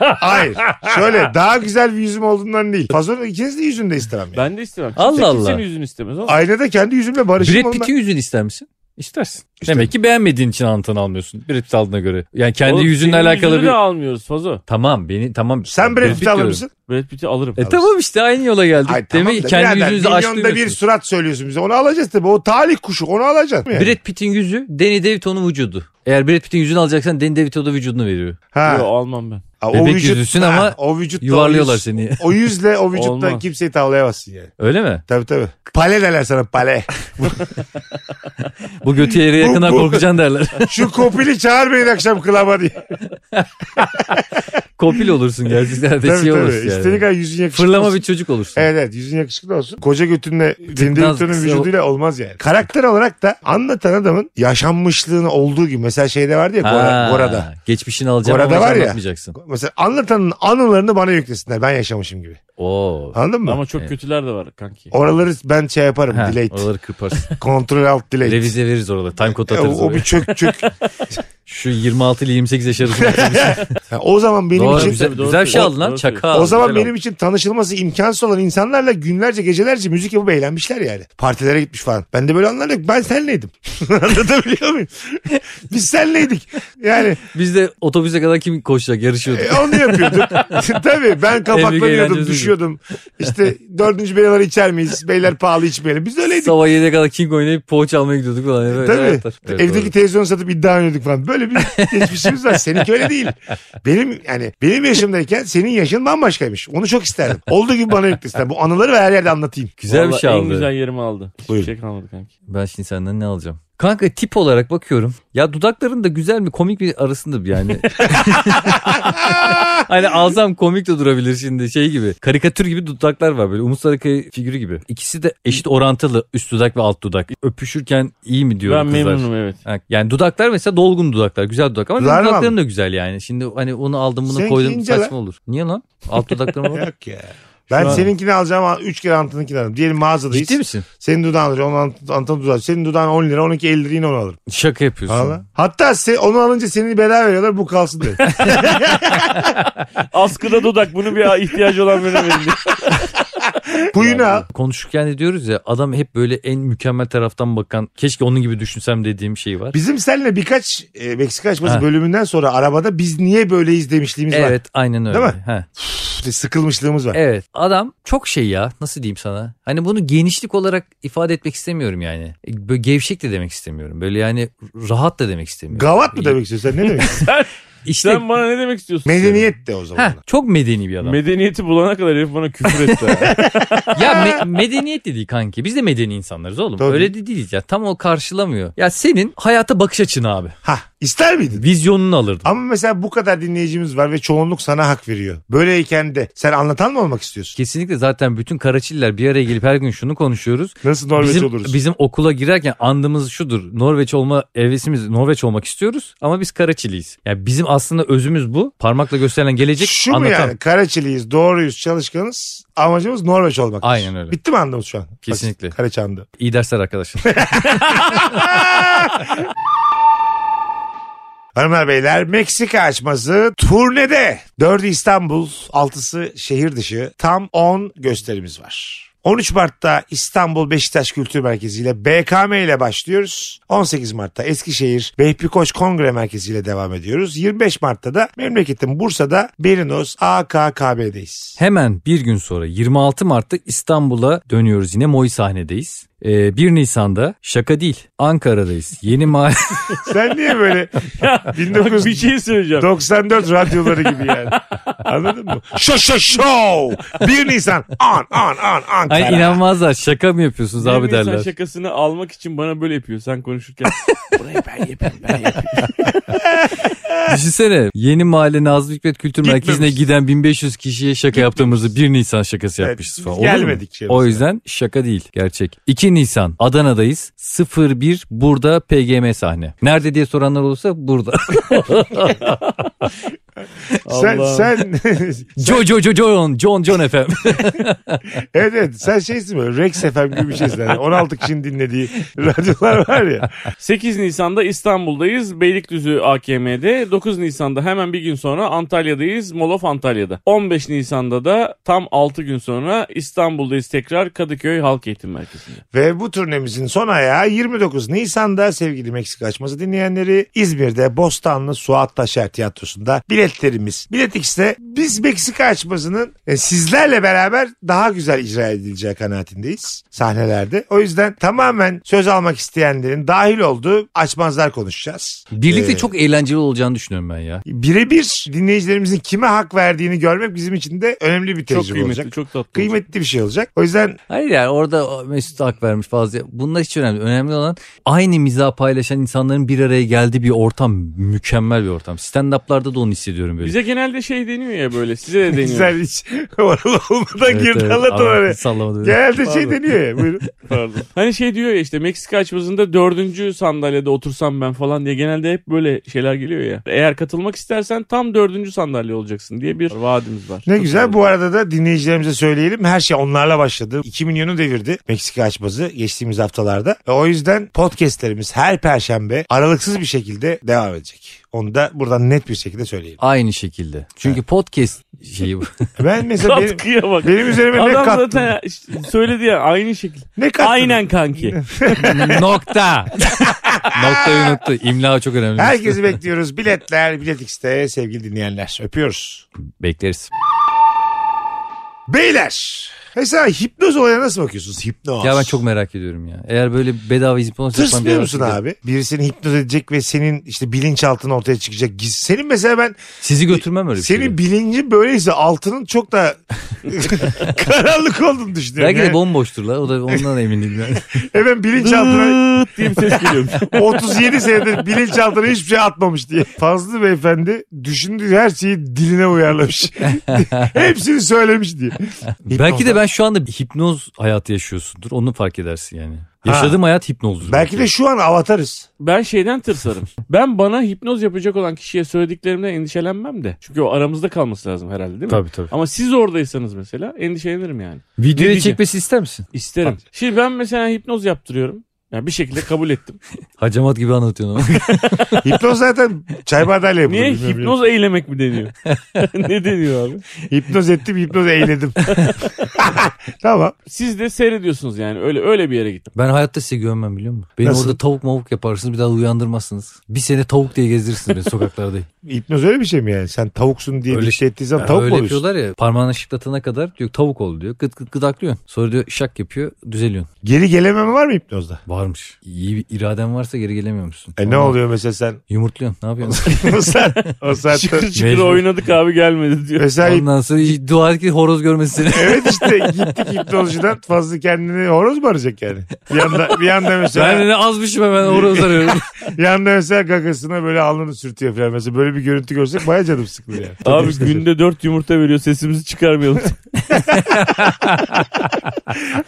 Speaker 1: Hayır. Şöyle daha güzel bir yüzüm olduğundan değil. Fazla ikiniz de yüzünü de istemem. Yani.
Speaker 2: ben de istemem. Kimse
Speaker 3: Allah Allah.
Speaker 2: Kimsenin yüzünü istemez. oğlum.
Speaker 1: Aynada kendi yüzümle barışım
Speaker 3: Brad
Speaker 1: ondan-
Speaker 3: Pitt'in yüzünü ister misin? İstersin. Demek ki beğenmediğin için anlatanı almıyorsun. Brad Pitt aldığına göre. Yani kendi
Speaker 2: Oğlum,
Speaker 3: yüzünle
Speaker 2: senin
Speaker 3: alakalı
Speaker 2: yüzünü
Speaker 3: bir...
Speaker 2: de almıyoruz Fazo.
Speaker 3: Tamam beni tamam.
Speaker 1: Sen Brad Pitt alır
Speaker 3: diyorum.
Speaker 1: mısın?
Speaker 2: Brad Pitt'i alırım.
Speaker 3: E tamam işte aynı yola geldik.
Speaker 1: Ay, tamam
Speaker 3: Demek
Speaker 1: da
Speaker 3: ki kendi
Speaker 1: birader,
Speaker 3: yüzünüzü aç
Speaker 1: milyonda bir
Speaker 3: duymuyorsunuz.
Speaker 1: surat söylüyorsun bize. Onu alacağız tabii. O talih kuşu. Onu alacağız. Yani.
Speaker 3: Brad Pitt'in yüzü Danny DeVito'nun vücudu. Eğer Brad Pitt'in yüzünü alacaksan Danny DeVito da vücudunu veriyor.
Speaker 1: Ha.
Speaker 2: Yo, almam ben.
Speaker 1: Ha,
Speaker 3: Bebek yüzüsün ama
Speaker 1: o vücutta
Speaker 3: Yuvarlıyorlar
Speaker 1: o yüz-
Speaker 3: seni. [LAUGHS]
Speaker 1: O yüzle o vücutta
Speaker 2: Olmaz.
Speaker 1: kimseyi tavlayamazsın yani.
Speaker 3: Öyle mi?
Speaker 1: Tabii tabii. Pale derler sana pale.
Speaker 3: Bu götü yere yakından
Speaker 1: bu-
Speaker 3: korkacaksın derler. [LAUGHS]
Speaker 1: Şu kopili çağır beni akşam klaba diye.
Speaker 3: Kopil
Speaker 1: [LAUGHS]
Speaker 3: olursun gerçekten de
Speaker 1: tabii
Speaker 3: şey
Speaker 1: tabii.
Speaker 3: olursun
Speaker 1: İstediğin
Speaker 3: yani.
Speaker 1: kadar yüzün yakışıklı
Speaker 3: Fırlama
Speaker 1: olsun.
Speaker 3: bir çocuk olursun.
Speaker 1: Evet evet yüzün yakışıklı olsun. Koca götünle Dindirikton'un
Speaker 3: kısa-
Speaker 1: vücuduyla olmaz yani. Karakter olarak da anlatan adamın yaşanmışlığını olduğu gibi. Mesela şeyde vardı ya Gora,
Speaker 3: Ha,
Speaker 1: Gora'da.
Speaker 3: Geçmişini alacağım
Speaker 1: Gora'da
Speaker 3: ama
Speaker 1: var
Speaker 3: var
Speaker 1: ya.
Speaker 3: anlatmayacaksın.
Speaker 1: Mesela anlatanın anılarını bana yüklesinler. Ben yaşamışım gibi.
Speaker 3: Oo.
Speaker 1: Anladın mı?
Speaker 2: Ama çok
Speaker 3: Evet.
Speaker 2: kötüler de var kanki.
Speaker 1: Oraları ben şey yaparım.
Speaker 3: Ha,
Speaker 1: [LAUGHS] delete.
Speaker 3: oraları kırparsın.
Speaker 1: Kontrol alt delete.
Speaker 3: Revize veririz oraları. Time code
Speaker 1: E,
Speaker 3: atarız
Speaker 1: o, o
Speaker 3: oraya.
Speaker 1: bir çök çök. [LAUGHS]
Speaker 3: Şu 26 ile 28 yaş arasında.
Speaker 1: Ha, o zaman benim
Speaker 3: Doğru,
Speaker 1: için
Speaker 3: güzel,
Speaker 2: Tabii, doğru
Speaker 3: güzel bir şey
Speaker 2: söylüyorsun.
Speaker 3: aldın lan.
Speaker 2: Doğru
Speaker 3: Çaka.
Speaker 1: o zaman benim için tanışılması imkansız olan insanlarla günlerce gecelerce müzik yapıp eğlenmişler yani. Partilere gitmiş falan. Ben de böyle anlar yok. Ben senleydim. [LAUGHS] Anlatabiliyor
Speaker 3: [LAUGHS]
Speaker 1: muyum? Biz senleydik. Yani
Speaker 3: Biz de otobüse kadar kim koşacak yarışıyorduk.
Speaker 1: e, onu
Speaker 3: [LAUGHS]
Speaker 1: yapıyorduk. Tabii ben kapaklanıyordum,
Speaker 3: eğlencemiz
Speaker 1: düşüyordum. İşte dördüncü beyler içer miyiz? Beyler pahalı içmeyelim. Biz de öyleydik.
Speaker 3: Sabah 7'ye kadar King oynayıp poğaça almaya gidiyorduk falan. Evet,
Speaker 1: Tabii.
Speaker 3: hayatlar. Evet,
Speaker 1: Evdeki
Speaker 3: doğru.
Speaker 1: televizyonu satıp iddia oynuyorduk falan. Böyle
Speaker 3: [LAUGHS]
Speaker 1: bir geçmişimiz var. Seninki öyle değil. Benim yani benim yaşımdayken senin yaşın bambaşkaymış. Onu çok isterdim. Olduğu gibi bana yüklesinler. Bu anıları ve her yerde anlatayım.
Speaker 3: Güzel bir
Speaker 2: Vallahi
Speaker 3: şey
Speaker 2: En
Speaker 3: aldı.
Speaker 2: güzel yerimi aldı.
Speaker 1: Buyurun.
Speaker 2: Hiçbir şey kalmadı kanki.
Speaker 3: Ben şimdi senden ne alacağım? Kanka tip olarak bakıyorum. Ya dudakların da güzel mi komik mi arasında
Speaker 1: [LAUGHS]
Speaker 3: bir yani. hani alsam komik de durabilir şimdi şey gibi. Karikatür gibi dudaklar var böyle. Umut Sarıkaya figürü gibi. İkisi de eşit orantılı üst dudak ve alt dudak. Öpüşürken iyi mi diyor
Speaker 2: ben
Speaker 3: kızlar.
Speaker 2: memnunum evet. [LAUGHS]
Speaker 3: Ha, Yani dudaklar mesela dolgun dudaklar. Güzel dudak ama
Speaker 1: Güzel
Speaker 3: benim
Speaker 1: mi
Speaker 3: dudaklarım da güzel yani. Şimdi hani onu aldım bunu
Speaker 1: Seninki
Speaker 3: koydum
Speaker 1: ince lan.
Speaker 3: saçma olur. Niye lan?
Speaker 1: [LAUGHS]
Speaker 3: Alt dudaklarıma bak.
Speaker 1: Yok ya. Ben
Speaker 3: Şu an-
Speaker 1: seninkini alacağım. Üç kere Antan'ınkini alırım. Diyelim mağazadayız.
Speaker 3: Ciddi misin?
Speaker 1: Senin dudağın alır. Onun Ant- Antan'ın dudağı. Senin dudağın 10 lira. Onunki 50 lira yine onu alırım.
Speaker 3: Şaka yapıyorsun.
Speaker 1: Valla. Hatta se- onu alınca seni bedava veriyorlar. Bu kalsın
Speaker 3: [LAUGHS]
Speaker 1: diye.
Speaker 2: Askıda dudak bunu bir ihtiyacı olan birine verin diye.
Speaker 1: Kuyunu al.
Speaker 3: Konuşurken de diyoruz ya adam hep böyle en mükemmel taraftan bakan keşke onun gibi düşünsem dediğim şey var.
Speaker 1: Bizim seninle birkaç e, Meksika açması
Speaker 3: Ha.
Speaker 1: bölümünden sonra arabada biz niye böyleyiz demişliğimiz var.
Speaker 3: Evet aynen öyle.
Speaker 1: Değil mi?
Speaker 3: He.
Speaker 1: İşte sıkılmışlığımız var.
Speaker 3: Evet adam çok şey ya nasıl diyeyim sana hani bunu genişlik olarak ifade etmek istemiyorum yani E, böyle gevşek de demek istemiyorum böyle yani rahat da demek istemiyorum.
Speaker 1: Gavat mı demek istiyorsun sen ne
Speaker 3: [LAUGHS]
Speaker 1: demek istiyorsun?
Speaker 3: [LAUGHS] İşte
Speaker 2: Sen bana ne demek istiyorsun?
Speaker 1: Medeniyet de o zaman.
Speaker 3: Heh, çok medeni bir adam.
Speaker 2: Medeniyeti bulana kadar herif bana küfür etti.
Speaker 3: [LAUGHS]
Speaker 2: ha.
Speaker 3: ya me- medeniyet de değil kanki. Biz de medeni insanlarız oğlum.
Speaker 1: Tabii.
Speaker 3: Öyle de değiliz ya. Tam o karşılamıyor. Ya senin hayata bakış açın abi.
Speaker 1: Ha ister miydin?
Speaker 3: Vizyonunu alırdım.
Speaker 1: Ama mesela bu kadar dinleyicimiz var ve çoğunluk sana hak veriyor. Böyleyken de sen anlatan mı olmak istiyorsun?
Speaker 3: Kesinlikle zaten bütün Karaçiller bir araya gelip her gün şunu konuşuyoruz.
Speaker 1: Nasıl Norveç
Speaker 3: bizim,
Speaker 1: oluruz?
Speaker 3: bizim okula girerken andımız şudur. Norveç olma evresimiz Norveç olmak istiyoruz ama biz Karaçiliyiz. Yani bizim aslında özümüz bu. Parmakla gösterilen gelecek
Speaker 1: Şu mu
Speaker 3: anlatan.
Speaker 1: yani? Karaçiliyiz, doğruyuz, çalışkanız. Amacımız Norveç olmak.
Speaker 3: Aynen öyle.
Speaker 1: Bitti mi anlamız şu an? Bak,
Speaker 3: Kesinlikle.
Speaker 1: Karaçandı.
Speaker 3: İyi dersler arkadaşlar. [LAUGHS]
Speaker 1: Hanımlar beyler Meksika açması turnede. 4'ü İstanbul, 6'sı şehir dışı. Tam 10 gösterimiz var. 13 Mart'ta İstanbul Beşiktaş Kültür Merkezi ile BKM ile başlıyoruz. 18 Mart'ta Eskişehir Vehbi Koç Kongre Merkezi ile devam ediyoruz. 25 Mart'ta da memleketim Bursa'da Berinos AKKB'deyiz.
Speaker 3: Hemen bir gün sonra 26 Mart'ta İstanbul'a dönüyoruz yine Moy sahnedeyiz. Ee, 1 Nisan'da şaka değil Ankara'dayız. Yeni mahalle
Speaker 1: Sen niye böyle
Speaker 2: Bak bir
Speaker 1: 1994
Speaker 2: şey söyleyeceğim.
Speaker 1: radyoları gibi yani. Anladın mı? Şo şo şo! 1 Nisan an an an Ankara.
Speaker 3: [LAUGHS] Ay inanmazlar şaka mı yapıyorsunuz
Speaker 2: Benim
Speaker 3: abi
Speaker 2: insan
Speaker 3: derler.
Speaker 2: şakasını almak için bana böyle yapıyor sen konuşurken. [LAUGHS] Burayı ben yapayım ben yapayım.
Speaker 3: Düşünsene yeni mahalle Nazım Hikmet Kültür
Speaker 1: Gitmemiş.
Speaker 3: Merkezi'ne giden 1500 kişiye şaka yaptığımızı 1 Nisan şakası
Speaker 1: Evet,
Speaker 3: yapmışız
Speaker 1: biz
Speaker 3: falan. Olur mu?
Speaker 1: gelmedik şey
Speaker 3: O
Speaker 1: mesela.
Speaker 3: yüzden şaka değil gerçek. 2 Nisan Adana'dayız 01 burada PGM sahne. Nerede diye soranlar olursa burada.
Speaker 1: Sen, [LAUGHS]
Speaker 2: Allah'ım.
Speaker 1: sen, [LAUGHS]
Speaker 3: Jo Jo Jo John John John efendim.
Speaker 1: evet, evet sen şeysin böyle Rex FM gibi bir şeysin. Yani 16 kişinin dinlediği radyolar var ya.
Speaker 2: 8 Nisan'da İstanbul'dayız. Beylikdüzü AKM'de. 9 Nisan'da hemen bir gün sonra Antalya'dayız. Molof Antalya'da. 15 Nisan'da da tam 6 gün sonra İstanbul'dayız tekrar Kadıköy Halk Eğitim Merkezi'nde.
Speaker 1: Ve bu turnemizin son ayağı 29 Nisan'da sevgili Meksika açması dinleyenleri İzmir'de Bostanlı Suat Taşer Tiyatrosu'nda biletlerimiz. Bilet X'te biz Meksika açmasının e, sizlerle beraber daha güzel icra edileceği kanaatindeyiz sahnelerde. O yüzden tamamen söz almak isteyenlerin dahil olduğu açmazlar konuşacağız.
Speaker 3: Birlikte
Speaker 1: Ee,
Speaker 3: çok eğlenceli olacağını düşünüyorum ben ya.
Speaker 1: birebir dinleyicilerimizin kime hak verdiğini görmek bizim için de önemli bir
Speaker 2: Çok
Speaker 1: tecrübe
Speaker 2: kıymetli,
Speaker 1: olacak.
Speaker 2: çok tatlı. olacak.
Speaker 1: Kıymetli bir şey olacak. O yüzden
Speaker 3: Hayır yani orada Mesut hak vermiş fazla. Bunlar hiç önemli. değil. Önemli olan aynı mizah paylaşan insanların bir araya geldiği bir ortam. Mükemmel bir ortam. Stand-up'larda da onu hissediyorum böyle.
Speaker 2: Bize genelde şey deniyor ya böyle size [LAUGHS] de deniyor.
Speaker 1: sen hiç [LAUGHS] oralı olmadan
Speaker 3: Evet,
Speaker 1: girdin
Speaker 3: evet.
Speaker 1: anlatın
Speaker 3: Aa,
Speaker 2: [LAUGHS]
Speaker 1: oraya.
Speaker 3: sallamadı beni.
Speaker 1: Genelde şey
Speaker 2: Pardon.
Speaker 1: deniyor ya.
Speaker 2: [LAUGHS]
Speaker 1: Buyurun.
Speaker 2: Pardon. Hani şey diyor ya işte Meksika açmasında dördüncü sandalyede otursam ben falan diye genelde hep böyle şeyler geliyor ya. Eğer katılmak istersen tam dördüncü sandalye olacaksın diye bir vaadimiz var.
Speaker 1: Ne güzel
Speaker 2: [LAUGHS]
Speaker 1: bu arada da dinleyicilerimize söyleyelim. Her şey onlarla başladı. 2 milyonu devirdi Meksika açması geçtiğimiz haftalarda. E, o yüzden podcastlerimiz her perşembe aralıksız bir şekilde devam edecek. Onu da buradan net bir şekilde
Speaker 2: [LAUGHS]
Speaker 1: söyleyelim.
Speaker 3: Aynı şekilde. Çünkü podcast şeyi
Speaker 1: [LAUGHS]
Speaker 3: bu.
Speaker 1: Ben mesela
Speaker 2: [LAUGHS]
Speaker 1: benim,
Speaker 2: Katkıya bak.
Speaker 1: benim üzerime ne
Speaker 2: Adam
Speaker 1: kattın?
Speaker 2: zaten söyledi ya aynı şekilde.
Speaker 1: Ne kattın?
Speaker 2: Aynen kanki.
Speaker 3: Nokta. [LAUGHS] Noktayı unuttu. İmla çok önemli.
Speaker 1: Herkesi bekliyoruz. Biletler, Bilet X'te sevgili dinleyenler. Öpüyoruz.
Speaker 3: Bekleriz.
Speaker 1: Beyler. Mesela hipnoz olayına nasıl bakıyorsunuz? Hipnoz.
Speaker 3: Ya ben çok merak ediyorum ya. Eğer böyle bedava hipnoz yapan bir
Speaker 1: Tırsmıyor
Speaker 3: adam-
Speaker 1: musun abi? Biri seni hipnoz edecek ve senin işte bilinçaltın ortaya çıkacak. Giz- Senin mesela ben
Speaker 3: Sizi götürmem öyle bir
Speaker 1: senin
Speaker 3: şey.
Speaker 1: bilincin böyleyse altının çok
Speaker 3: [LAUGHS]
Speaker 1: da karanlık olduğunu düşünüyorum.
Speaker 3: Belki de
Speaker 1: Yani.
Speaker 3: bomboştur la. O da ondan eminim.
Speaker 1: [LAUGHS]
Speaker 3: ben.
Speaker 1: Hemen bilinçaltına
Speaker 2: Dıt diye bir ses geliyormuş.
Speaker 1: 37 senedir bilinçaltına hiçbir şey atmamış diye. Fazlı beyefendi düşündüğü her şeyi diline
Speaker 3: [LAUGHS]
Speaker 1: uyarlamış. Hepsini söylemiş diye.
Speaker 3: [LAUGHS] Belki de ben şu anda bir hipnoz hayatı yaşıyorsundur. Onu fark edersin yani.
Speaker 1: Ha.
Speaker 3: Yaşadığım hayat hipnozdur.
Speaker 1: Belki de şu an avatarız.
Speaker 2: Ben şeyden tırsarım. Ben bana hipnoz yapacak olan kişiye söylediklerimden endişelenmem de. Çünkü o aramızda kalması lazım herhalde değil mi?
Speaker 3: Tabii tabii.
Speaker 2: Ama siz oradaysanız mesela endişelenirim yani.
Speaker 3: Videoyu
Speaker 2: diyeceğim?
Speaker 3: çekmesi ister misin?
Speaker 2: İsterim. Şimdi ben mesela hipnoz yaptırıyorum. Yani bir şekilde kabul ettim.
Speaker 3: Hacamat gibi anlatıyorsun ama.
Speaker 1: Hipnoz zaten çay bardağıyla yapılıyor.
Speaker 2: Niye?
Speaker 1: bilmiyorum.
Speaker 2: Hipnoz eylemek mi deniyor? ne deniyor abi?
Speaker 1: Hipnoz ettim hipnoz eğledim. [LAUGHS] tamam.
Speaker 2: Siz de seyrediyorsunuz yani. Öyle öyle bir yere gittim.
Speaker 3: ben hayatta size güvenmem biliyor musun? Beni
Speaker 1: Nasıl?
Speaker 3: orada tavuk mavuk yaparsınız bir daha uyandırmazsınız. Bir sene tavuk diye gezdirirsiniz
Speaker 1: [LAUGHS]
Speaker 3: beni sokaklarda.
Speaker 1: Hipnoz öyle bir şey mi yani? Sen tavuksun diye
Speaker 3: Öyle-
Speaker 1: bir şey ettiği zaman
Speaker 3: Yani
Speaker 1: tavuk
Speaker 3: öyle
Speaker 1: mu oluyorsun?
Speaker 3: yapıyorlar ya parmağını şıklatana kadar diyor tavuk ol diyor. Gıt gıt gıdaklıyorsun. Sonra diyor şak yapıyor düzeliyorsun.
Speaker 1: Geri gelememe var mı hipnozda?
Speaker 3: Varmış. İyi bir iraden varsa geri gelemiyormuşsun.
Speaker 1: E ne
Speaker 3: Ama
Speaker 1: oluyor mesela sen? [LAUGHS]
Speaker 3: Yumurtluyorsun ne yapıyorsun?
Speaker 1: o sen o
Speaker 3: [LAUGHS]
Speaker 1: saatte...
Speaker 2: Çıkır çıkır
Speaker 3: Mecbur.
Speaker 2: oynadık abi gelmedi
Speaker 1: [LAUGHS]
Speaker 2: diyor.
Speaker 1: Mesela hip-
Speaker 3: Ondan sonra iyi- dua et ki horoz görmesin seni.
Speaker 1: evet işte gittik hipnozcudan fazla kendini horoz mu arayacak yani? Bir yanda, bir yanda mesela...
Speaker 3: şey ben de azmışım hemen horoz
Speaker 1: [LAUGHS]
Speaker 3: arıyorum.
Speaker 1: Yanda mesela gagasına böyle alnını sürtüyor falan. Mesela böyle bir görüntü görsek baya canım sıkılır yani. [LAUGHS]
Speaker 2: Abi günde dört yumurta veriyor sesimizi çıkarmayalım.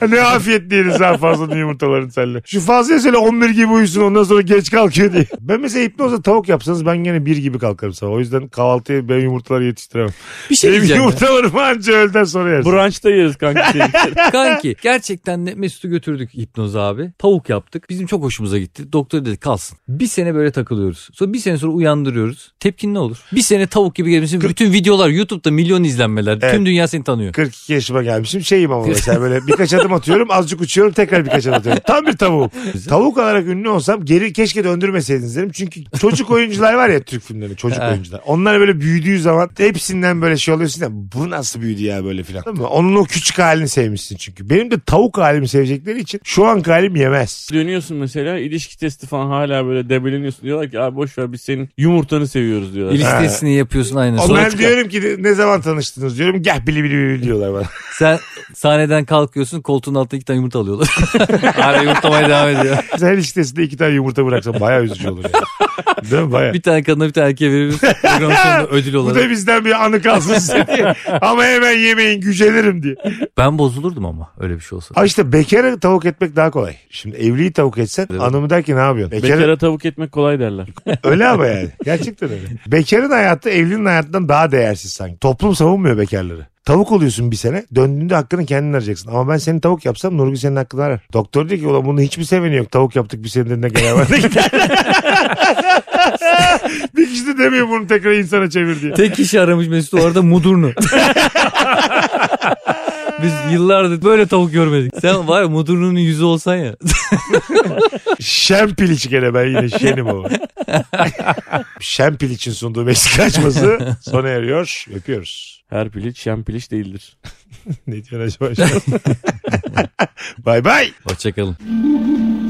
Speaker 1: ne afiyet değiliz ha fazla yumurtaların seninle. Şu fazla söyle 11 gibi uyusun ondan sonra geç kalkıyor diye. Ben mesela hipnozda tavuk yapsanız ben gene 1 gibi kalkarım sabah. O yüzden kahvaltıya ben yumurtaları yetiştiremem.
Speaker 3: bir şey
Speaker 1: Benim
Speaker 3: diyeceğim. ya.
Speaker 1: yumurtalarımı anca öğleden sonra yersin.
Speaker 2: Brunch'ta yeriz kanka. Şey. [LAUGHS]
Speaker 3: Kanki gerçekten de Mesut'u götürdük hipnoz abi. Tavuk yaptık. Bizim çok hoşumuza gitti. Doktor dedi kalsın. Bir sene böyle takılıyoruz. Sonra bir sene sonra uyandırıyoruz. Tepkin ne olur? Bir sene tavuk gibi gelmişsin. Bütün videolar YouTube'da milyon izlenmeler.
Speaker 1: Evet.
Speaker 3: Tüm dünya seni tanıyor.
Speaker 1: 42 yaşıma gelmişim şeyim ama mesela böyle birkaç adım atıyorum azıcık uçuyorum tekrar birkaç adım atıyorum. Tam bir tavuğum. Tavuk olarak ünlü olsam geri keşke döndürmeseydiniz derim. Çünkü çocuk oyuncular var ya Türk filmlerinde [LAUGHS] çocuk
Speaker 3: Evet.
Speaker 1: oyuncular. Onlar böyle büyüdüğü zaman hepsinden böyle şey oluyorsun ya bu nasıl büyüdü ya böyle filan. Değil mi? Onun o küçük halini sevmişsin çünkü. Benim de tavuk halimi sevecekleri için şu anki halim yemez.
Speaker 2: Dönüyorsun mesela ilişki testi falan hala böyle debeleniyorsun. Diyorlar ki abi boş ver biz senin yumurtanı seviyoruz diyorlar.
Speaker 3: İlişki
Speaker 1: Ha.
Speaker 3: testini E, yapıyorsun aynı.
Speaker 1: Ama
Speaker 3: Sonra
Speaker 1: ben
Speaker 3: çıkar.
Speaker 1: diyorum ki ne zaman tanıştınız diyorum gel bili bili bili diyorlar bana.
Speaker 3: Sen sahneden kalkıyorsun koltuğun altına iki tane
Speaker 1: [LAUGHS]
Speaker 3: yumurta alıyorlar. Hala yumurtlamaya devam ediyor.
Speaker 1: Mesela her iştesinde iki tane yumurta bıraksam bayağı üzücü olur yani. Değil mi bayağı?
Speaker 3: Bir tane kadına bir tane erkeğe veriyoruz. Programın sonunda
Speaker 1: [LAUGHS]
Speaker 3: ödül
Speaker 1: Bu
Speaker 3: olarak.
Speaker 1: da bizden bir anı kalsın size diye. Ama hemen yemeyin gücenirim diye.
Speaker 3: Ben bozulurdum ama öyle bir şey olsa.
Speaker 1: Ha işte bekara tavuk etmek daha kolay. Şimdi evliyi tavuk etsen
Speaker 3: Evet.
Speaker 1: anımı der ki ne yapıyorsun? Bekara,
Speaker 2: Bekara tavuk etmek kolay derler.
Speaker 1: öyle ama yani. Gerçekten öyle. Bekarın hayatı evlinin hayatından daha değersiz sanki. Toplum savunmuyor bekarları. Tavuk oluyorsun bir sene. Döndüğünde hakkını kendin arayacaksın. Ama ben seni tavuk yapsam Nurgül senin hakkını arar. Doktor diyor ki ulan bunu hiçbir seveni yok. Tavuk yaptık bir senedir ne kadar var. [LAUGHS] bir kişi de demiyor bunu tekrar insana çevir diye.
Speaker 3: Tek kişi aramış Mesut o arada Mudurnu. Biz yıllardır böyle tavuk görmedik. Sen var ya Mudurnu'nun yüzü olsan ya.
Speaker 1: Şen piliç gene ben yine şenim o. [LAUGHS] Şen piliçin sunduğu Meksika açması sona eriyor. Öpüyoruz.
Speaker 2: Her piliç şen piliç değildir.
Speaker 1: Ne diyorsun acaba? şu an? bay bay.
Speaker 3: Hoşçakalın.